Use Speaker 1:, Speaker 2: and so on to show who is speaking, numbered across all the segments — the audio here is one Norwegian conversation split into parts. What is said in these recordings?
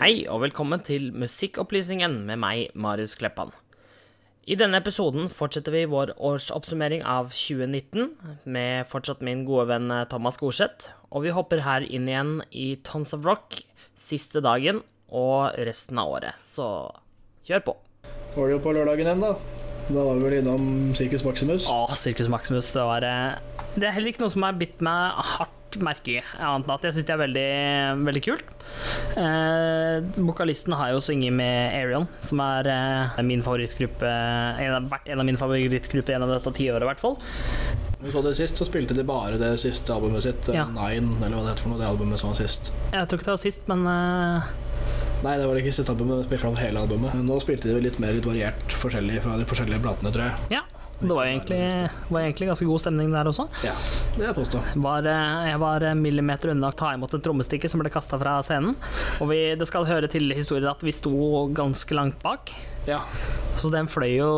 Speaker 1: Hei og velkommen til Musikkopplysningen med meg, Marius Kleppan. I denne episoden fortsetter vi vår årsoppsummering av 2019 med fortsatt min gode venn eh, Thomas Gorseth, og vi hopper her inn igjen i Tons of Rock siste dagen og resten av året. Så kjør på.
Speaker 2: var det jo på lørdagen igjen, da. Da var vi vel innom Sirkus Maximus.
Speaker 1: Å, Sirkus Maximus, det var eh, Det er heller ikke noe som har bitt meg hardt merke i, annet enn at jeg syns det er veldig, veldig kult. Eh, vokalisten har jo sunget med Arion, som er eh, min favorittgruppe en av, Vært en av mine favorittgrupper gjennom dette tiåret, i hvert fall.
Speaker 2: Vi så det sist, så spilte de bare det siste albumet sitt, eh,
Speaker 1: Ja.
Speaker 2: Nine, eller hva det heter for noe, det albumet som var sist.
Speaker 1: Jeg tror ikke det var sist, men eh,
Speaker 2: Nei, det var ikke siste albumet, de spilte fram hele albumet. Men nå spilte de vel litt mer litt variert forskjellig fra de forskjellige platene, tror jeg.
Speaker 1: ja. Det var jo egentlig, var egentlig ganske god stemning der også.
Speaker 2: Ja, det er påstå.
Speaker 1: Var, eh, jeg var en millimeter unna å ta imot et trommestikke som ble kasta fra scenen. Og vi, det skal høre til historien at vi sto ganske langt bak.
Speaker 2: Ja.
Speaker 1: Så den fløy jo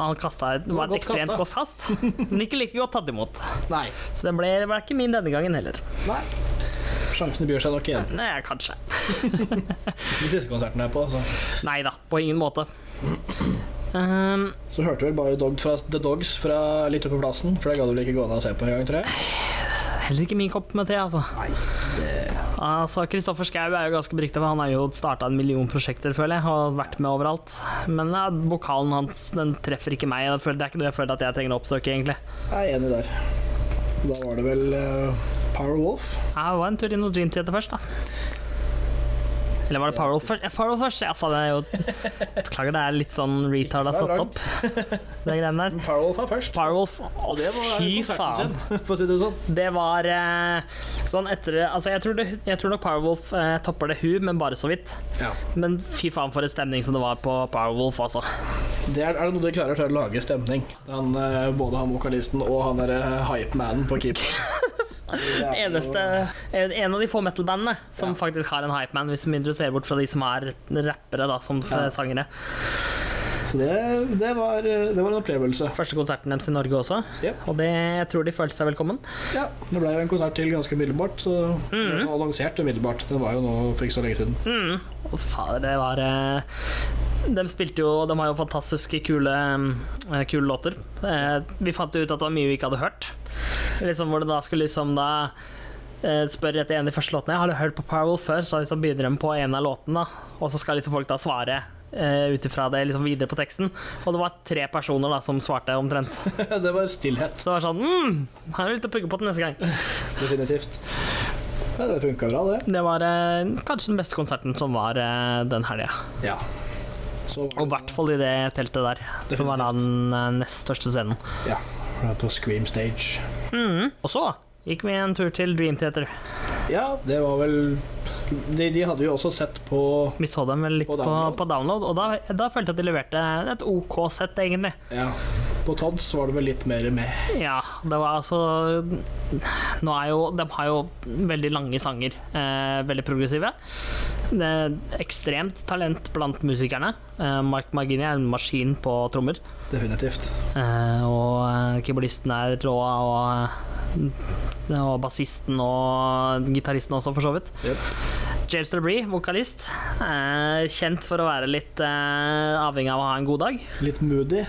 Speaker 1: Han kasta et, det var
Speaker 2: var
Speaker 1: et
Speaker 2: godt
Speaker 1: ekstremt godt kast. Men ikke like godt tatt imot.
Speaker 2: Nei.
Speaker 1: Så den ble, det ble ikke min denne gangen heller.
Speaker 2: Nei. Sjansene byr seg nok igjen.
Speaker 1: Nei, kanskje.
Speaker 2: De siste konsertene jeg er på, altså. så.
Speaker 1: Nei da, på ingen måte. Ehm,
Speaker 2: Så hørte vi vel bare Dog fra, The Dogs fra litt oppe på plassen, for det ga du vel ikke gående og se på en gang, tror jeg.
Speaker 1: heller ikke min kopp med te, altså.
Speaker 2: Nei.
Speaker 1: Altså, Kristoffer Schau er jo ganske berykta, for han har jo starta en million prosjekter, føler jeg, og vært med overalt. Men ja, vokalen hans den treffer ikke meg. Jeg føler, det er ikke det jeg føler at jeg trenger å oppsøke, egentlig.
Speaker 2: Jeg er enig der. Da var det vel eh, Power Wolf.
Speaker 1: Jeg var en tur innom Dream Theater først, da. Eller var det Parol først? Ja, Parol først. Ja, faen, jeg er jo Beklager, det er litt sånn retard har
Speaker 2: Ikke
Speaker 1: satt
Speaker 2: forrang.
Speaker 1: opp, de greiene der.
Speaker 2: Power Wolf var først.
Speaker 1: Parolf,
Speaker 2: Og det var
Speaker 1: fy
Speaker 2: konserten
Speaker 1: faen.
Speaker 2: sin, for å si det sånn.
Speaker 1: Det var eh, sånn etter Altså, jeg tror, det, jeg tror nok Powerwolf eh, topper det hun, men bare så vidt.
Speaker 2: Ja.
Speaker 1: Men fy faen for en stemning som det var på Powerwolf, altså.
Speaker 2: Det er, er det noe de klarer til å lage stemning. Han, eh, både han vokalisten og han derre hypemanen på keep.
Speaker 1: Eneste En en av de få metal-bandene som faktisk har en hypeman, hvis vi ser bort fra de som er rappere, da, som eh, sangere.
Speaker 2: Så det, det, var, eh, det var en opplevelse.
Speaker 1: Første konserten deres i Norge også.
Speaker 2: Ja.
Speaker 1: Og det, jeg tror de følte seg velkommen.
Speaker 2: ja. Det ble jo en konsert til ganske umiddelbart, så den var annonsert umiddelbart. Den var jo nå for ikke så lenge siden.
Speaker 1: Mm. Og fader, det var eh, De spilte jo De har jo fantastiske kule, eh, kule låter. Eh, vi fant jo ut at det var mye vi ikke hadde hørt. Liksom Hvor det da skulle liksom da eh, Spør etter en av de første låtene Har du hørt på Parwell før, så liksom begynner de på en av låtene. da. Og så skal liksom folk da svare eh, ut ifra det liksom videre på teksten. Og det var tre personer da som svarte omtrent.
Speaker 2: det var stillhet,
Speaker 1: Så det var sånn mm, Her er det litt å pugge på til neste gang.
Speaker 2: definitivt. Ja, det funka bra, det.
Speaker 1: Det var eh, kanskje den beste konserten som var eh, den helga.
Speaker 2: Ja. Så var
Speaker 1: Og i hvert fall i det teltet der, som var da den eh, nest største scenen.
Speaker 2: det ja, det var på Scream Stage.
Speaker 1: Og så gikk vi en tur til Dream Theater.
Speaker 2: Ja, det var vel De, de hadde vi også sett på
Speaker 1: Vi så dem vel litt på
Speaker 2: På
Speaker 1: download,
Speaker 2: download.
Speaker 1: på, download og da, da følte jeg at de leverte et OK sett, egentlig.
Speaker 2: Ja. På Todds var det vel litt mer med.
Speaker 1: Ja, det var altså Nå er jo De har jo veldig lange sanger. Eh, veldig progressive. Det er ekstremt talent blant musikerne. Eh, Mark Margini er en maskin på trommer.
Speaker 2: Definitivt.
Speaker 1: Eh, og eh, keyboardisten er rå, og, eh, og bassisten og gitaristen også, for så vidt.
Speaker 2: Jep.
Speaker 1: James DeBree, vokalist. Eh, kjent for å være litt eh, avhengig av å ha en god dag.
Speaker 2: Litt moody.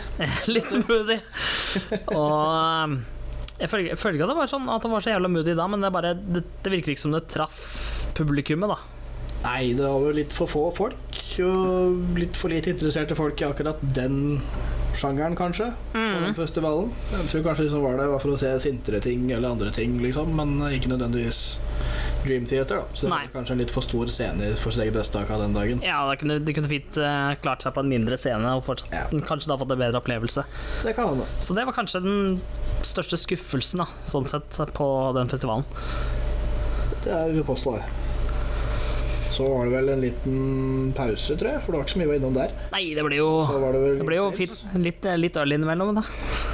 Speaker 1: litt moody. Og um, jeg føler jeg føler ikke at det var sånn at det var så jævla moody da, men det, er bare, det, det virker ikke som det traff publikummet, da.
Speaker 2: Nei, det var jo litt for få folk, og litt for lite interesserte folk i akkurat den sjangeren, kanskje,
Speaker 1: Mm.
Speaker 2: på den festivalen. Jeg tror kanskje de som var der, var for å se sintere ting eller andre ting, liksom, men ikke nødvendigvis Dream Theater, da. Så det
Speaker 1: Nei.
Speaker 2: var kanskje en litt for stor scene for sitt eget beste akkurat den dagen.
Speaker 1: Ja, det kunne, de kunne fint eh, klart seg på en mindre scene og fortsatt,
Speaker 2: Ja.
Speaker 1: kanskje da fått en bedre opplevelse.
Speaker 2: Det kan hende.
Speaker 1: Så det var kanskje den største skuffelsen da, sånn sett, på den festivalen.
Speaker 2: Det er vi påstå det. Så var det vel en liten pause, tror jeg, for det var ikke så mye vi var innom der.
Speaker 1: Nei, det ble jo,
Speaker 2: Så var det vel
Speaker 1: det ble jo fint. Litt, litt øl innimellom, da.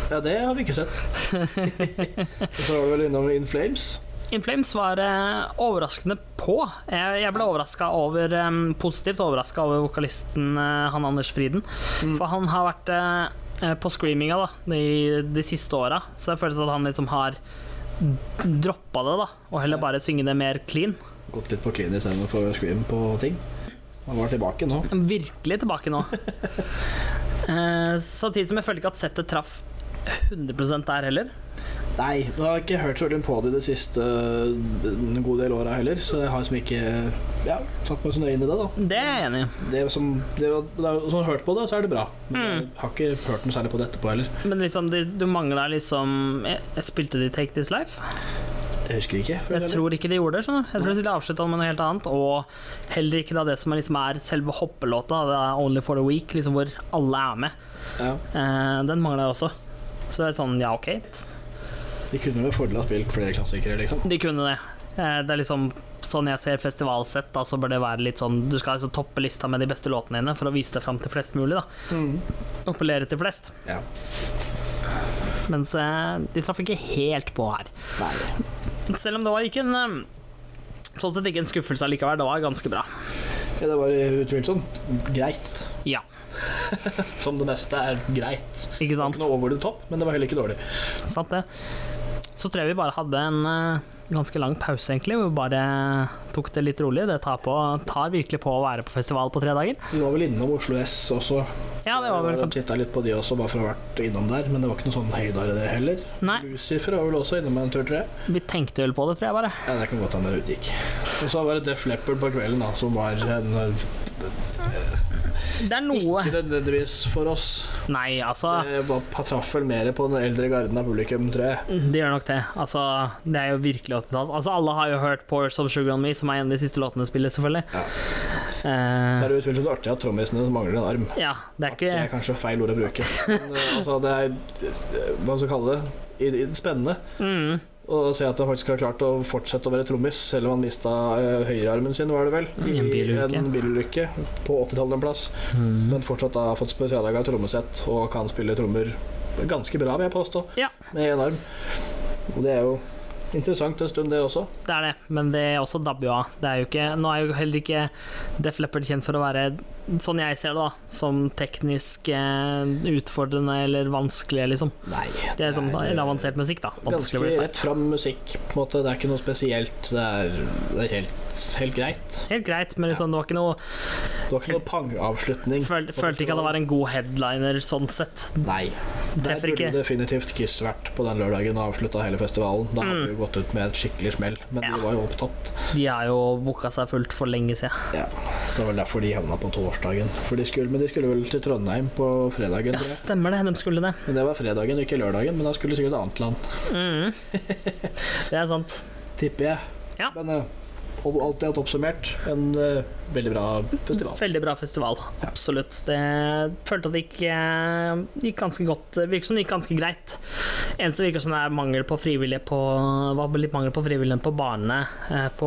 Speaker 2: Ja, det har vi ikke sett. Og så var det vel innom In Flames.
Speaker 1: In Flames var eh, overraskende på. Jeg, jeg ble overraska over eh, Positivt overraska over vokalisten eh, han Anders Friden. For han har vært eh, eh, på screaminga da, de, de siste åra, så det føles at han liksom har droppa det, da, og heller bare synge det mer clean.
Speaker 2: Gått litt på clean istedenfor scream på ting. Han var tilbake nå.
Speaker 1: Jeg er Virkelig tilbake nå. Eh, Samtidig som jeg føler ikke at settet traff 100 der heller.
Speaker 2: Nei, nå har jeg ikke hørt så veldig på det de siste øh, en god del åra heller, så jeg har liksom ikke ja, satt meg så nøye inn i det, da.
Speaker 1: Det er jeg enig i.
Speaker 2: Det som, det, var- det er- som har hørt på det, så er det bra. Men jeg
Speaker 1: Mm.
Speaker 2: har ikke hørt noe særlig på det etterpå heller.
Speaker 1: Men liksom, de- du mangla liksom jeg, jeg Spilte de Take This Life?
Speaker 2: Jeg husker ikke.
Speaker 1: Jeg tror ikke de gjorde det. skjønner du. Jeg tror de avslutta med noe helt annet. Og heller ikke da det som er, liksom er selve hoppelåta, det er Only for the Week, liksom hvor alle er med.
Speaker 2: Ja,
Speaker 1: Eh, den mangla jeg også. Så det er sånn, ja, ok.
Speaker 2: de kunne med fordel ha spilt flere klassikere, liksom.
Speaker 1: De kunne det. Eh, det er liksom sånn jeg ser festivalsett, da, så bør det være litt sånn Du skal altså toppe lista med de beste låtene dine for å vise deg fram til flest mulig, da. Appellere til flest.
Speaker 2: Ja.
Speaker 1: Mens eh, de traff ikke helt på her.
Speaker 2: Nei.
Speaker 1: Selv om det var ikke en eh, Sånn sett ikke en skuffelse allikevel. Det var ganske bra.
Speaker 2: Ja, det var utvilsomt greit.
Speaker 1: Ja,
Speaker 2: Som det meste er greit.
Speaker 1: ikke sant?
Speaker 2: Ikke noe over the top, men det var heller ikke dårlig.
Speaker 1: sant det. Så tror jeg vi bare hadde en eh, ganske lang pause, egentlig, hvor vi bare tok det litt rolig. Det tar, på, tar virkelig på å være på festival på tre dager.
Speaker 2: Vi var vel innom Oslo S også.
Speaker 1: Ja, det var vel kanskje
Speaker 2: Titta litt på de også, bare for å ha vært innom der. Men det var ikke noe sånn høydare, det heller.
Speaker 1: Nei.
Speaker 2: Lucifer var vel også innom en tur, tror jeg.
Speaker 1: Vi tenkte vel på det, tror jeg bare.
Speaker 2: Ja, det kan godt hende det utgikk. Og så var det Def Leppard på kvelden, da, som var en Ikke
Speaker 1: Det er noe
Speaker 2: nødvendigvis for oss.
Speaker 1: Nei, altså.
Speaker 2: Det var, traff vel mer på den eldre garden av publikum, tror jeg.
Speaker 1: Det gjør nok det. Altså, det er jo virkelig 80-talls. Altså, alle har jo hørt 'Pour Some Sugar On Me', som er en av de siste låtene de spiller, selvfølgelig.
Speaker 2: Ja. Så
Speaker 1: Eh,
Speaker 2: er det utvilsomt artig at trommisene mangler en arm.
Speaker 1: ja, det er
Speaker 2: Det er
Speaker 1: ikke
Speaker 2: kanskje feil ord å bruke. Men, eh, altså, det er eh, Hva skal jeg kalle det? I, i, spennende
Speaker 1: mm,
Speaker 2: å se at han faktisk har klart å fortsette å være trommis, selv om han mista eh, høyrearmen sin, var det vel,
Speaker 1: I en bilulykke.
Speaker 2: en bilulykke på 80-tallet en plass.
Speaker 1: mm.
Speaker 2: Men fortsatt da har fått spesiallaga trommesett og kan spille trommer ganske bra, vil jeg påstå,
Speaker 1: Ja.
Speaker 2: med én arm. Og det er jo interessant en stund, det også.
Speaker 1: Det er det, men det er også dabber jo av. Det er jo ikke, nå er jo heller ikke Def Leppard kjent for å være, sånn jeg ser det, da, som teknisk eh, utfordrende eller vanskelig, liksom.
Speaker 2: Nei,
Speaker 1: Det er sånn, eller avansert musikk, da.
Speaker 2: Ganske
Speaker 1: Vanskelig å bli ferdig.
Speaker 2: rett fram musikk, på en måte. Det er ikke noe spesielt. Det er, det er helt, helt greit.
Speaker 1: Helt greit, men liksom, det var ikke noe
Speaker 2: Det var ikke noe pangavslutning.
Speaker 1: føl, Følte ikke at det var en god headliner sånn sett.
Speaker 2: Nei. Der
Speaker 1: Treffer
Speaker 2: burde
Speaker 1: ikke.
Speaker 2: definitivt Kiss vært på den lørdagen og avslutta hele festivalen. Da hadde
Speaker 1: Mm.
Speaker 2: vi gått ut med et skikkelig smell, men
Speaker 1: Ja.
Speaker 2: de var jo opptatt.
Speaker 1: De har jo booka seg fullt for lenge siden.
Speaker 2: Så det var derfor de havna på torsdagen. For de skulle, men de skulle vel til Trondheim på fredagen,
Speaker 1: Ja,
Speaker 2: tror jeg.
Speaker 1: stemmer det, de skulle det.
Speaker 2: Men det var fredagen, ikke lørdagen. Men da skulle de sikkert et annet land,
Speaker 1: Mhm. Det er sant.
Speaker 2: tipper jeg.
Speaker 1: Ja.
Speaker 2: Men eh, og alt i alt oppsummert, en eh, veldig bra festival.
Speaker 1: Veldig bra festival,
Speaker 2: Ja.
Speaker 1: absolutt. Det følte at det gikk, eh, gikk ganske godt. Det Virker som det gikk ganske greit. Eneste virker som det er mangel på frivillige på Var litt mangel på frivillige på banene eh, på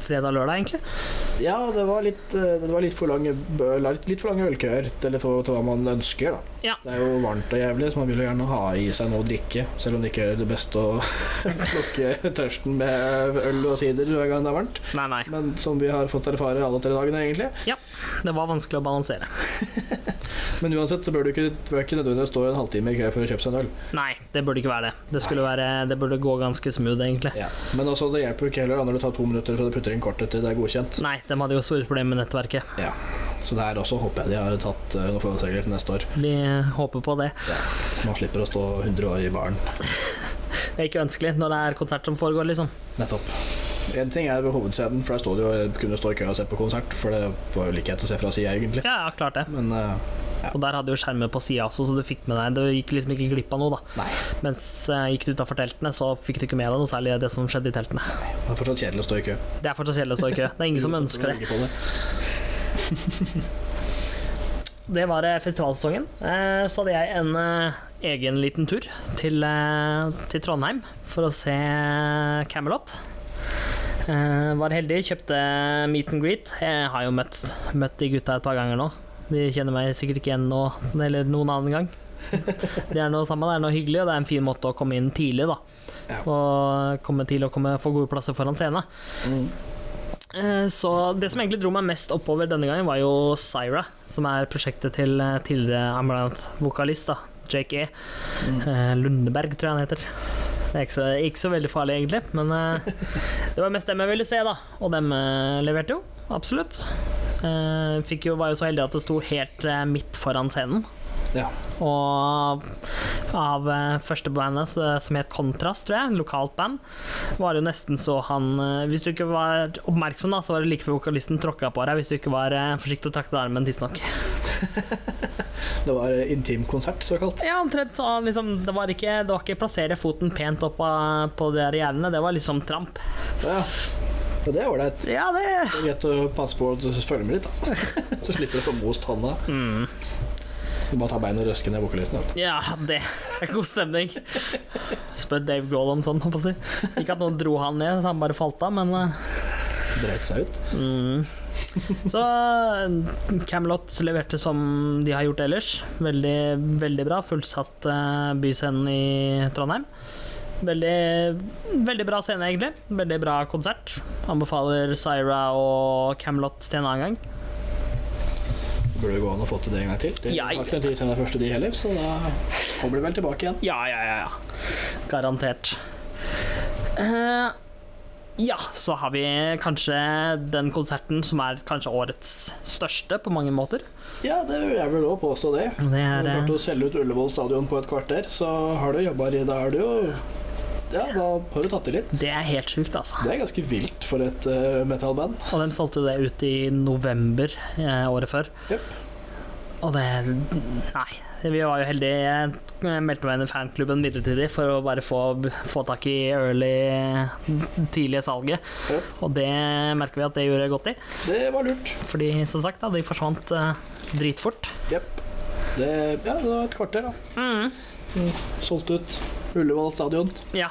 Speaker 1: fredag-lørdag, egentlig.
Speaker 2: Ja, det var litt, eh, det var litt for lange, bø- litt for lange ølkøer til, til hva man ønsker, da.
Speaker 1: Ja.
Speaker 2: Det er jo varmt og jævlig, så man vil jo gjerne ha i seg noe å drikke. Selv om det ikke er det beste å plukke tørsten med øl og sider hver gang det er varmt.
Speaker 1: Nei, nei.
Speaker 2: Men som vi har fått erfare alle tre dagene, egentlig.
Speaker 1: Det var vanskelig å balansere.
Speaker 2: Men uansett så bør du ikke, bør ikke nødvendigvis stå en halvtime i kø for å kjøpe seg en øl.
Speaker 1: Nei, det burde ikke være det. Det, skulle være, det burde gå ganske smooth, egentlig.
Speaker 2: Men også, det hjelper jo ikke heller da, når du tar to minutter fra du putter inn kortet til det er godkjent.
Speaker 1: Nei, de hadde jo store problemer med nettverket.
Speaker 2: Så der også håper jeg de har tatt eh, noen forholdsregler til neste år,
Speaker 1: Vi håper på det.
Speaker 2: så man slipper å stå 100 år i baren.
Speaker 1: Det er ikke ønskelig når det er konsert som foregår, liksom.
Speaker 2: Nettopp. En ting er ved hovedscenen, for der stod det jo, kunne stå i kø og se på konsert, for det var jo like greit å se fra sida, egentlig.
Speaker 1: Ja, ja, klart det.
Speaker 2: Men eh,
Speaker 1: Og der hadde jo skjermer på sida også, så du fikk med deg Du gikk liksom ikke glipp av noe, da.
Speaker 2: nei.
Speaker 1: Mens eh, gikk du utafor teltene, så fikk du ikke med deg noe særlig av det som skjedde i teltene.
Speaker 2: Det er fortsatt kjedelig å stå i kø.
Speaker 1: Det er fortsatt kjedelig å stå i kø. Det er ingen som ønsker det. Det var eh, festivalsesongen. Eh, Så hadde jeg en eh, egen liten tur til, eh, til Trondheim for å se Camelot. Eh, Var heldig, kjøpte meet and greet. Jeg har jo møtt, møtt de gutta et par ganger nå. De kjenner meg sikkert ikke igjen nå, eller noen annen gang. Det er noe samme, det er noe hyggelig, og det er en fin måte å komme inn tidlig, da.
Speaker 2: Ja. Mm.
Speaker 1: Og komme tidlig og komme, få gode plasser foran scenen. Eh, Så det som egentlig dro meg mest oppover denne gangen, var jo Syra, som er prosjektet til eh, tidligere Amaranth-vokalist, da, Jake E. Eh, Lundeberg, tror jeg han heter. Det er ikke så, ikke så veldig farlig, egentlig, men eh, det var mest dem jeg ville se, da. Og dem eh, leverte jo, absolutt. Eh, Fikk jo, var jo så heldig at det sto helt eh, midt foran scenen.
Speaker 2: Ja.
Speaker 1: Og av eh, første bandet så- som het Kontrast, tror jeg, en lokalt band, var det jo nesten så han eh, Hvis du ikke var oppmerksom, da, så var det like før vokalisten tråkka på deg hvis du ikke var eh, forsiktig og trakk deg i armen tidsnok.
Speaker 2: Det var eh, intimkonsert, såkalt.
Speaker 1: Ja, omtrent. så han Liksom, det, var ikke, det var ikke plassere foten pent opp av, på de her gjerdene, det var liksom tramp.
Speaker 2: Ja. Og det er ålreit.
Speaker 1: Ja, det
Speaker 2: Det er greit å passe på å følge med litt, da. Så slipper du å få most handa.
Speaker 1: Mm.
Speaker 2: Du bare ta beina og røske ned vokalisten. da.
Speaker 1: Ja, det er god stemning. Spør Dave Grohl om sånn, holdt på å si. Ikke at noen dro han ned, så han bare falt av, men eh,
Speaker 2: Dreit seg ut.
Speaker 1: Mm. Så eh, Camelot leverte som de har gjort ellers. Veldig, veldig bra. Fullsatt eh, byscenen i Trondheim. Veldig, veldig bra scene, egentlig. Veldig bra konsert. Anbefaler Syra og Camelot til en annen gang.
Speaker 2: Burde gå an å få til det en gang til. Det
Speaker 1: Ja,
Speaker 2: var ikke den tid siden det første de heller, så da kommer de vel tilbake igjen.
Speaker 1: Ja, ja, ja. ja. Garantert. Eh, ja, så har vi kanskje den konserten som er kanskje årets største på mange måter.
Speaker 2: Ja, det vil jeg vel òg påstå det.
Speaker 1: Det
Speaker 2: Når
Speaker 1: er
Speaker 2: du
Speaker 1: eh,
Speaker 2: klarte å selge ut Ullevål stadion på et kvarter, så har du jobba i Da har du jo Ja, da har du tatt i litt.
Speaker 1: Det er helt sjukt, altså.
Speaker 2: Det er ganske vilt for et uh, metal-band.
Speaker 1: Og de solgte jo det ut i november eh, året før.
Speaker 2: Jep.
Speaker 1: Og det Nei. Vi var jo heldige. Jeg meldte meg inn i fanklubben midlertidig for å bare få, få tak i early, tidlige salget.
Speaker 2: Jep.
Speaker 1: Og det merker vi at det gjorde godt i.
Speaker 2: Det var lurt.
Speaker 1: Fordi som sagt, da, de forsvant eh, dritfort.
Speaker 2: Jepp. Det, ja, det var et kvarter, da.
Speaker 1: Mm.
Speaker 2: Mm, Solgt ut Ullevål stadion.
Speaker 1: Ja.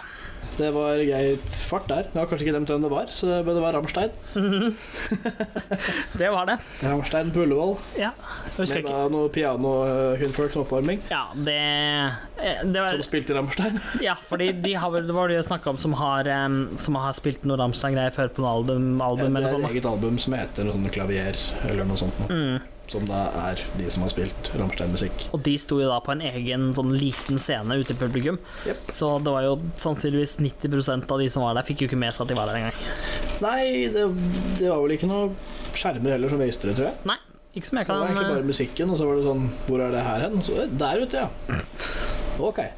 Speaker 2: Det var greit fart der. Jeg har kanskje ikke glemt hvem det var, så det, men det var Rammstein.
Speaker 1: Det var det.
Speaker 2: Rammstein på Ullevål.
Speaker 1: Ja. Jeg husker
Speaker 2: Med
Speaker 1: ikke.
Speaker 2: da noe piano-hundfolk som oppvarming,
Speaker 1: Ja, det, eh, det var,
Speaker 2: som spilte Rammstein.
Speaker 1: Ja, fordi de har vel, det var det jeg snakka om, som har, eh, som har spilt noe Ramstein-greier før på noen album,
Speaker 2: Det
Speaker 1: album
Speaker 2: er
Speaker 1: eller noe
Speaker 2: et
Speaker 1: sånt. da. Mm.
Speaker 2: eget album som heter noe sånn Klavier, eller noe sånt. Noe. Som da er de som har spilt Rammstein-musikk.
Speaker 1: Og de sto jo da på en egen sånn liten scene ute i publikum.
Speaker 2: Jep.
Speaker 1: Så det var jo sannsynligvis 90 av de som var der, fikk jo ikke med seg at de var der engang.
Speaker 2: Nei, det, det var vel ikke noe skjermer heller som viste det, tror jeg.
Speaker 1: Nei, ikke som jeg
Speaker 2: Det var
Speaker 1: kan eh,
Speaker 2: egentlig bare musikken, og så var det sånn Hvor er det her hen? Så, eh, der ute, ja. Ok.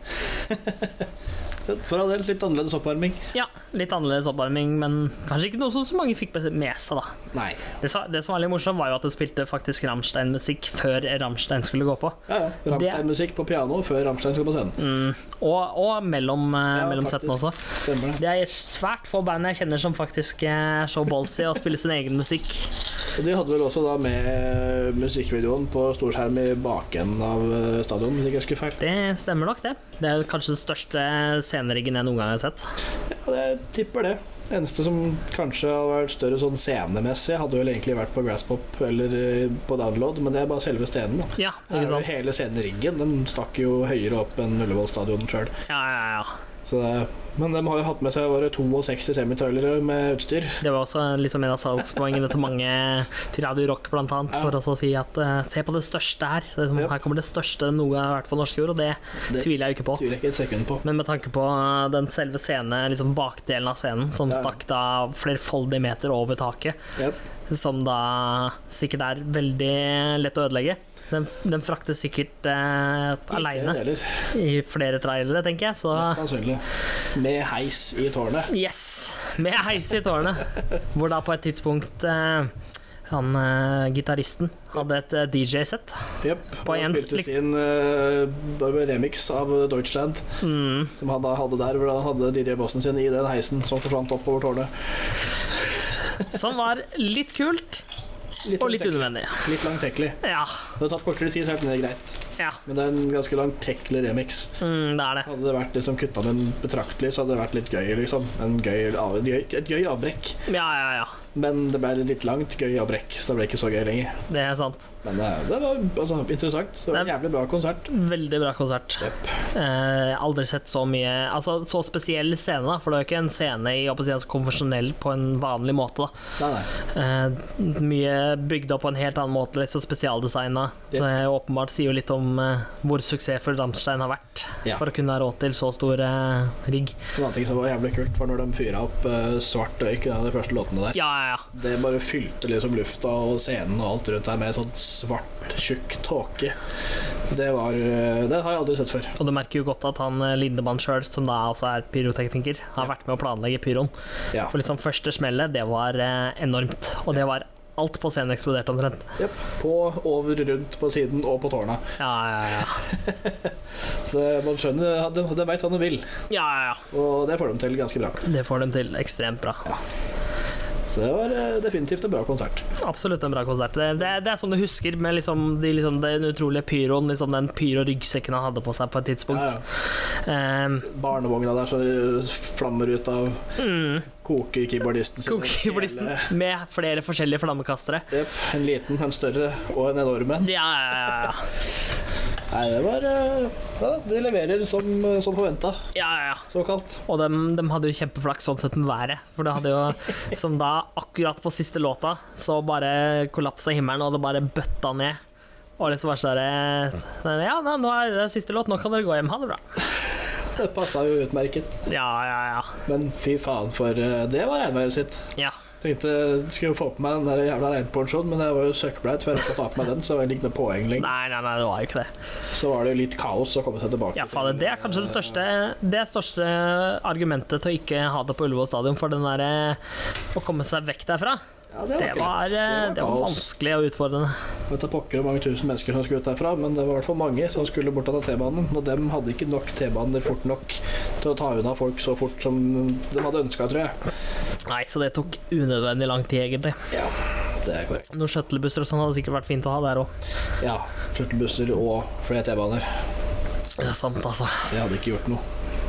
Speaker 2: For all del, litt annerledes oppvarming.
Speaker 1: Ja, litt annerledes oppvarming, men kanskje ikke noe som så mange fikk med seg, da.
Speaker 2: Nei.
Speaker 1: Det, sa- det som var litt morsomt, var jo at det spilte faktisk Rammstein-musikk før Rammstein skulle gå på.
Speaker 2: Ja, ja. Rammstein-musikk på piano før Rammstein skal på scenen.
Speaker 1: Og, og mellom, eh,
Speaker 2: Ja,
Speaker 1: mellom
Speaker 2: faktisk.
Speaker 1: settene også.
Speaker 2: Stemmer det.
Speaker 1: Det er svært få band jeg kjenner som faktisk eh, er så ballsy og spiller sin egen musikk.
Speaker 2: Og de hadde vel også da med musikkvideoen på storskjerm i bakenden av eh, stadion, hvis jeg ikke husker feil.
Speaker 1: Det stemmer nok, det. Det er kanskje den største sceneriggen jeg noen gang har sett.
Speaker 2: Ja, jeg tipper det. Eneste som kanskje har vært større sånn scenemessig, hadde vel egentlig vært på Grasspop eller eh, på Download, men det er bare selve scenen, da.
Speaker 1: Ja,
Speaker 2: Det
Speaker 1: ikke
Speaker 2: er jo
Speaker 1: sant?
Speaker 2: hele sceneriggen. Den stakk jo høyere opp enn Ullevål stadion sjøl.
Speaker 1: Ja, ja, ja.
Speaker 2: Så det- Men de har jo hatt med seg bare 62 semitrailere med utstyr.
Speaker 1: Det var også liksom en av salgspoengene til mange til Radio Rock, blant annet, for også å si at eh, se på det største her. Det er som,
Speaker 2: Yep.
Speaker 1: her kommer det største noe jeg har vært på norsk jord, og det,
Speaker 2: Det-
Speaker 1: tviler jeg jo ikke på.
Speaker 2: Tviler jeg ikke et sekund på.
Speaker 1: Men med tanke på eh, den selve scenen, liksom bakdelen av scenen, som
Speaker 2: Ja.
Speaker 1: stakk da flerfoldige meter over taket,
Speaker 2: Jep.
Speaker 1: som da sikkert er veldig lett å ødelegge. Den, den fraktes sikkert eh, aleine
Speaker 2: Flere deler,
Speaker 1: i flere trailere, tenker jeg, så
Speaker 2: Mest sannsynlig. Med heis i tårnet.
Speaker 1: Yes! Med heis i tårnet. Hvor da på et tidspunkt eh, han eh, gitaristen hadde et eh, DJ-sett.
Speaker 2: Jep.
Speaker 1: På
Speaker 2: Og
Speaker 1: en
Speaker 2: spilte
Speaker 1: slik-
Speaker 2: sin eh, bare remix av Deutschland,
Speaker 1: Mm.
Speaker 2: som han da hadde der, hvor han hadde DJ Bossen sin i den heisen som forsvant oppover tårnet.
Speaker 1: Som var litt kult
Speaker 2: Litt
Speaker 1: og litt
Speaker 2: langtekkelig.
Speaker 1: unødvendig.
Speaker 2: Litt langtekkelig.
Speaker 1: Ja.
Speaker 2: Det har tatt kortere tid, så er det mer greit.
Speaker 1: ja.
Speaker 2: Men det er en ganske langtekkelig remix.
Speaker 1: Mm, det er det.
Speaker 2: Hadde det vært liksom kutta den betraktelig, så hadde det vært litt gøy, liksom. En gøy, av- et gøy, et gøy avbrekk.
Speaker 1: Ja, ja, ja.
Speaker 2: Men det ble litt langt, gøy og brekk, så det ble ikke så gøy lenger.
Speaker 1: Det er sant.
Speaker 2: Men det, det var altså, interessant. Det var en jævlig bra konsert.
Speaker 1: Veldig bra konsert.
Speaker 2: Jepp.
Speaker 1: Eh, aldri sett så mye Altså så spesiell scene, da. For det er jo ikke en scene i å si, altså, konvensjonell på en vanlig måte. da
Speaker 2: Nei, nei.
Speaker 1: Eh, Mye bygd opp på en helt annen måte, liksom spesialdesigna.
Speaker 2: Yep.
Speaker 1: Det åpenbart sier jo litt om eh, hvor suksessfull Rammstein har vært
Speaker 2: Ja.
Speaker 1: for å kunne ha råd til så stor eh, rigg.
Speaker 2: En annen ting som var jævlig kult, var når de fyra opp eh, svart røyk i en av de første låtene der.
Speaker 1: Ja, ja, ja.
Speaker 2: Det bare fylte liksom lufta og scenen og alt rundt der med sånn svart, tjukk tåke. Det var eh, Det har jeg aldri sett før.
Speaker 1: Og du merker jo godt at han eh, Lindemann sjøl, som da også er pyrotekniker, har
Speaker 2: Ja.
Speaker 1: vært med å planlegge pyroen.
Speaker 2: Ja.
Speaker 1: For liksom første smellet, det var eh, enormt. Og det var alt på scenen eksploderte omtrent.
Speaker 2: Jepp. På, over, rundt, på siden og på tårna.
Speaker 1: Ja, ja, ja.
Speaker 2: Så man skjønner at de, de veit hva de vil,
Speaker 1: ja, ja, ja.
Speaker 2: og det får de til ganske bra.
Speaker 1: Det får dem til ekstremt bra.
Speaker 2: Så det var eh, definitivt en bra konsert.
Speaker 1: Absolutt en bra konsert. Det, det, det er sånn du husker med liksom, de, liksom, den utrolige pyroen, liksom, den pyro-ryggsekken han hadde på seg på et tidspunkt.
Speaker 2: Ja, ja.
Speaker 1: Ehm,
Speaker 2: Barnevogna der som flammer ut av
Speaker 1: hmm,
Speaker 2: koke-keyboardisten sin.
Speaker 1: Kokebolisten
Speaker 2: Hele-
Speaker 1: med flere forskjellige flammekastere.
Speaker 2: Jep, en liten, en større og en enorm en.
Speaker 1: Ja, ja, ja,
Speaker 2: Nei, det var eh, Ja, de leverer som, som forventa,
Speaker 1: ja, ja, ja. ja.
Speaker 2: såkalt.
Speaker 1: Og de, hadde jo kjempeflaks sånn sett med været. For det hadde jo Som da, akkurat på siste låta, så bare kollapsa himmelen, og det bare bøtta ned. Og liksom bare sånn Ja, nei, nå er det siste låt, nå kan dere gå hjem. Ha det bra.
Speaker 2: Det passa jo utmerket.
Speaker 1: Ja, ja, ja.
Speaker 2: Men fy faen, for eh, det var regnværet sitt.
Speaker 1: ja.
Speaker 2: Tenkte skulle få på meg den der jævla regnponchoen, men jeg var jo søkkblaut før jeg rakk å ta på meg den, så det var ikke noe poeng lenger.
Speaker 1: Nei, nei, nei, det var jo ikke det.
Speaker 2: Så var det jo litt kaos å komme seg tilbake.
Speaker 1: Ja, fader, det er kanskje det største, det største argumentet til å ikke ha det på Ullevål stadion, for den derre å komme seg vekk derfra.
Speaker 2: Ja, det var,
Speaker 1: Det
Speaker 2: ikke
Speaker 1: var,
Speaker 2: lett.
Speaker 1: eh, det var
Speaker 2: kaos.
Speaker 1: vanskelig og utfordrende.
Speaker 2: Jeg vet da pokker hvor mange tusen mennesker som skulle ut derfra, men det var i hvert fall mange som skulle bort av den T-banen. Og dem hadde ikke nok T-baner fort nok til å ta unna folk så fort som de hadde ønska, tror jeg.
Speaker 1: Nei, så det tok unødvendig lang tid, egentlig.
Speaker 2: Ja, det er korrekt.
Speaker 1: Noen shuttlebusser og sånn hadde sikkert vært fint å ha der òg.
Speaker 2: Ja, Skjøtelbusser og flere T-baner.
Speaker 1: Det er sant, altså.
Speaker 2: Det hadde ikke gjort noe.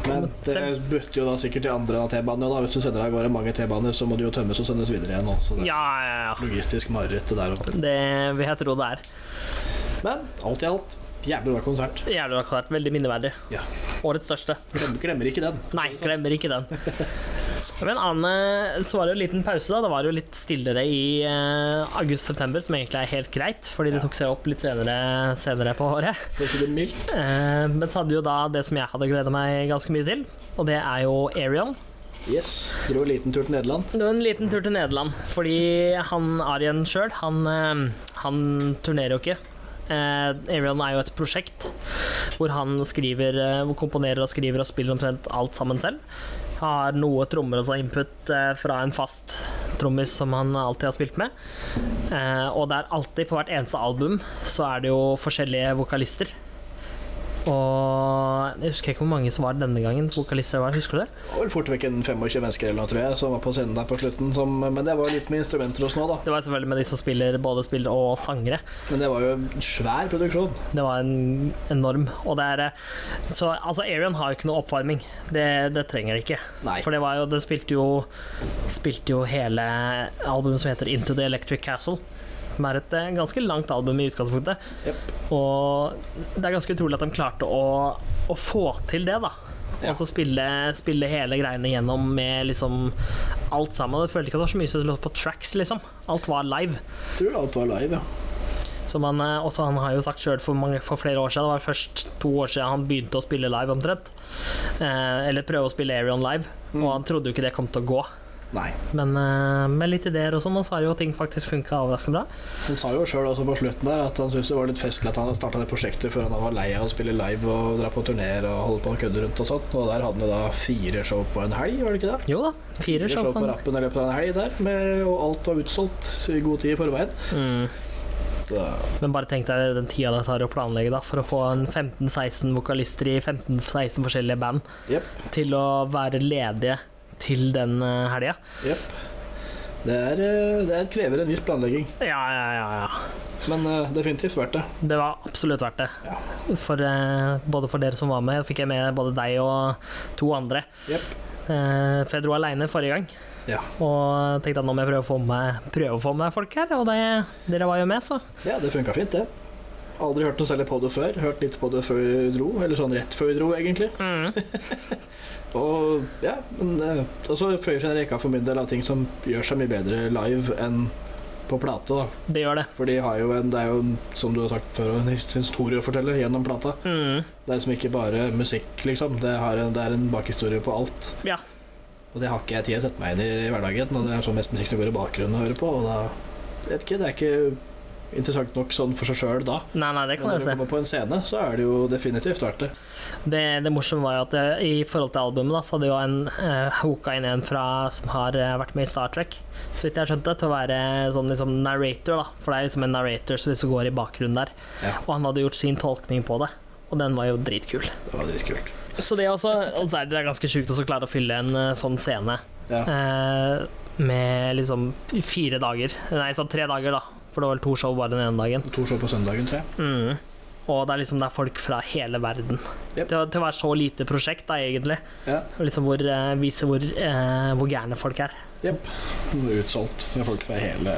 Speaker 2: Men det
Speaker 1: Selv-
Speaker 2: butter jo da sikkert i andre T-baner. og da. Hvis du sender av gårde mange T-baner, så må de jo tømmes og sendes videre igjen. Også. Det er
Speaker 1: Ja, ja, ja.
Speaker 2: logistisk mareritt, det der òg.
Speaker 1: Det vil jeg tro det er.
Speaker 2: Men alt i alt, jævlig bra konsert.
Speaker 1: Jævlig akkurat. Veldig minneverdig.
Speaker 2: Ja.
Speaker 1: Årets største.
Speaker 2: Glem- Glemmer ikke den.
Speaker 1: Nei, glemmer ikke den. Men Anne, så var det jo en liten pause, da. Det var jo litt stillere i eh, august-september, som egentlig er helt greit, fordi det tok seg opp litt senere, senere på året.
Speaker 2: For å si det mildt.
Speaker 1: Eh, men så hadde jo da det som jeg hadde gleda meg ganske mye til, og det er jo Ariel.
Speaker 2: Yes. Dro en liten tur til Nederland.
Speaker 1: Det var en liten tur til Nederland, fordi han Arjen sjøl, han, eh, han turnerer jo ikke. Eh, Arion er jo et prosjekt hvor han skriver, eh, hvor komponerer og skriver og spiller omtrent alt sammen selv. Har noe trommer og så input eh, fra en fast trommis som han alltid har spilt med. Eh, og det er alltid, på hvert eneste album, så er det jo forskjellige vokalister. Og jeg husker ikke hvor mange som var denne gangen. Vokalister var, husker du det?
Speaker 2: Det var vel fort vekk en 25 mennesker eller noe, tror jeg, som var på scenen der på slutten. Som, men det var litt med instrumenter og sånn òg, da.
Speaker 1: Det var selvfølgelig med de som spiller både spiller og sangere.
Speaker 2: Men det var jo en svær produksjon.
Speaker 1: Det var en enorm Og det er eh, Så altså, Arion har jo ikke noe oppvarming. Det, det trenger det ikke.
Speaker 2: Nei.
Speaker 1: For det var jo Det spilte jo Spilte jo hele albumet som heter Into the Electric Castle. Som er et eh, ganske langt album i utgangspunktet.
Speaker 2: Jep.
Speaker 1: Og det er ganske utrolig at de klarte å, å få til det, da.
Speaker 2: Ja.
Speaker 1: Og så spille, spille hele greiene gjennom med liksom alt sammen. Jeg følte ikke at det var så mye som lå på tracks, liksom. Alt var live.
Speaker 2: Jeg tror alt var live, ja.
Speaker 1: Som han, eh, også han har jo sagt sjøl for, mange- for flere år siden, det var først to år siden han begynte å spille live omtrent. Eh, eller prøve å spille Arion live, og han trodde jo ikke det kom til å gå.
Speaker 2: Mm. Nei.
Speaker 1: Men eh, med litt ideer og sånn, og så har jo ting faktisk funka overraskende bra.
Speaker 2: Han sa jo sjøl også på slutten der at han syntes det var litt festlig at han starta det prosjektet før han var lei av å spille live og dra på turneer og holde på og kødde rundt og sånn. Og der hadde han jo da fire show på en helg, var det ikke det?
Speaker 1: Jo da, fire
Speaker 2: Fire show
Speaker 1: show.
Speaker 2: på
Speaker 1: På
Speaker 2: rappen i løpet av en helg der, med, og alt var utsolgt i god tid i forveien.
Speaker 1: mm.
Speaker 2: Så
Speaker 1: Men bare tenk deg den tida det tar å planlegge da, for å få en 15-16 vokalister i 15-16 forskjellige band
Speaker 2: jepp.
Speaker 1: til å være ledige til den eh, helga.
Speaker 2: Jepp. Det, er, eh, det er- krever en viss planlegging,
Speaker 1: Ja, ja, ja, ja.
Speaker 2: men eh, definitivt verdt det.
Speaker 1: Det var absolutt verdt det. For, eh, både for dere som var med, fikk jeg med både deg og to andre.
Speaker 2: Jepp.
Speaker 1: Eh, for jeg dro aleine forrige gang
Speaker 2: Ja.
Speaker 1: og tenkte at nå må jeg prøve å få med meg, prøve å få med meg folk her. Og det, dere var jo med, så.
Speaker 2: Ja, det funka fint, det. Aldri hørt noe særlig på det før. Hørt litt på det før vi dro, eller sånn rett før vi dro, egentlig. Og ja, men eh, Og så føyer seg en rekke for min del av ting som gjør seg mye bedre live enn på plate, da.
Speaker 1: Det gjør det.
Speaker 2: For de har jo en, det er jo, som du har sagt før, en his- historie å fortelle gjennom plata.
Speaker 1: Mm.
Speaker 2: Det er liksom ikke bare musikk, liksom. Det, har en, det er en bakhistorie på alt.
Speaker 1: Ja.
Speaker 2: Og det har ikke jeg tid til å sette meg inn i i hverdagen. Og det er sånn mest musikk som går i bakgrunnen å høre på. Og da jeg vet ikke, det er ikke interessant nok sånn for seg sjøl da.
Speaker 1: Nei, nei, det
Speaker 2: Men
Speaker 1: kan
Speaker 2: når
Speaker 1: jeg
Speaker 2: du
Speaker 1: se.
Speaker 2: kommer på en scene, så er det jo definitivt verdt det.
Speaker 1: Det, det morsomme var jo at eh, i forhold til albumet, da, så hadde jo en eh, hoka inn en fra som har eh, vært med i Star Trek, så vidt jeg skjønte, til å være sånn liksom narrator, da. For det er liksom en narrator som liksom går i bakgrunnen der.
Speaker 2: Ja.
Speaker 1: Og han hadde gjort sin tolkning på det, og den var jo dritkul.
Speaker 2: Det var dritkult.
Speaker 1: Så det er også, og så er det ganske sjukt også å klare å fylle en eh, sånn scene
Speaker 2: Ja.
Speaker 1: eh, med liksom fire dager Nei, sånn tre dager, da. For det var vel to show bare den ene dagen.
Speaker 2: To show på søndagen, tror jeg.
Speaker 1: Mm. Og det er liksom det er folk fra hele verden.
Speaker 2: Yep.
Speaker 1: Til, å- til å være så lite prosjekt, da, egentlig.
Speaker 2: Ja.
Speaker 1: Og Liksom hvor, eh, vise hvor, eh, hvor gærne folk er.
Speaker 2: Jepp. Utsolgt med folk fra hele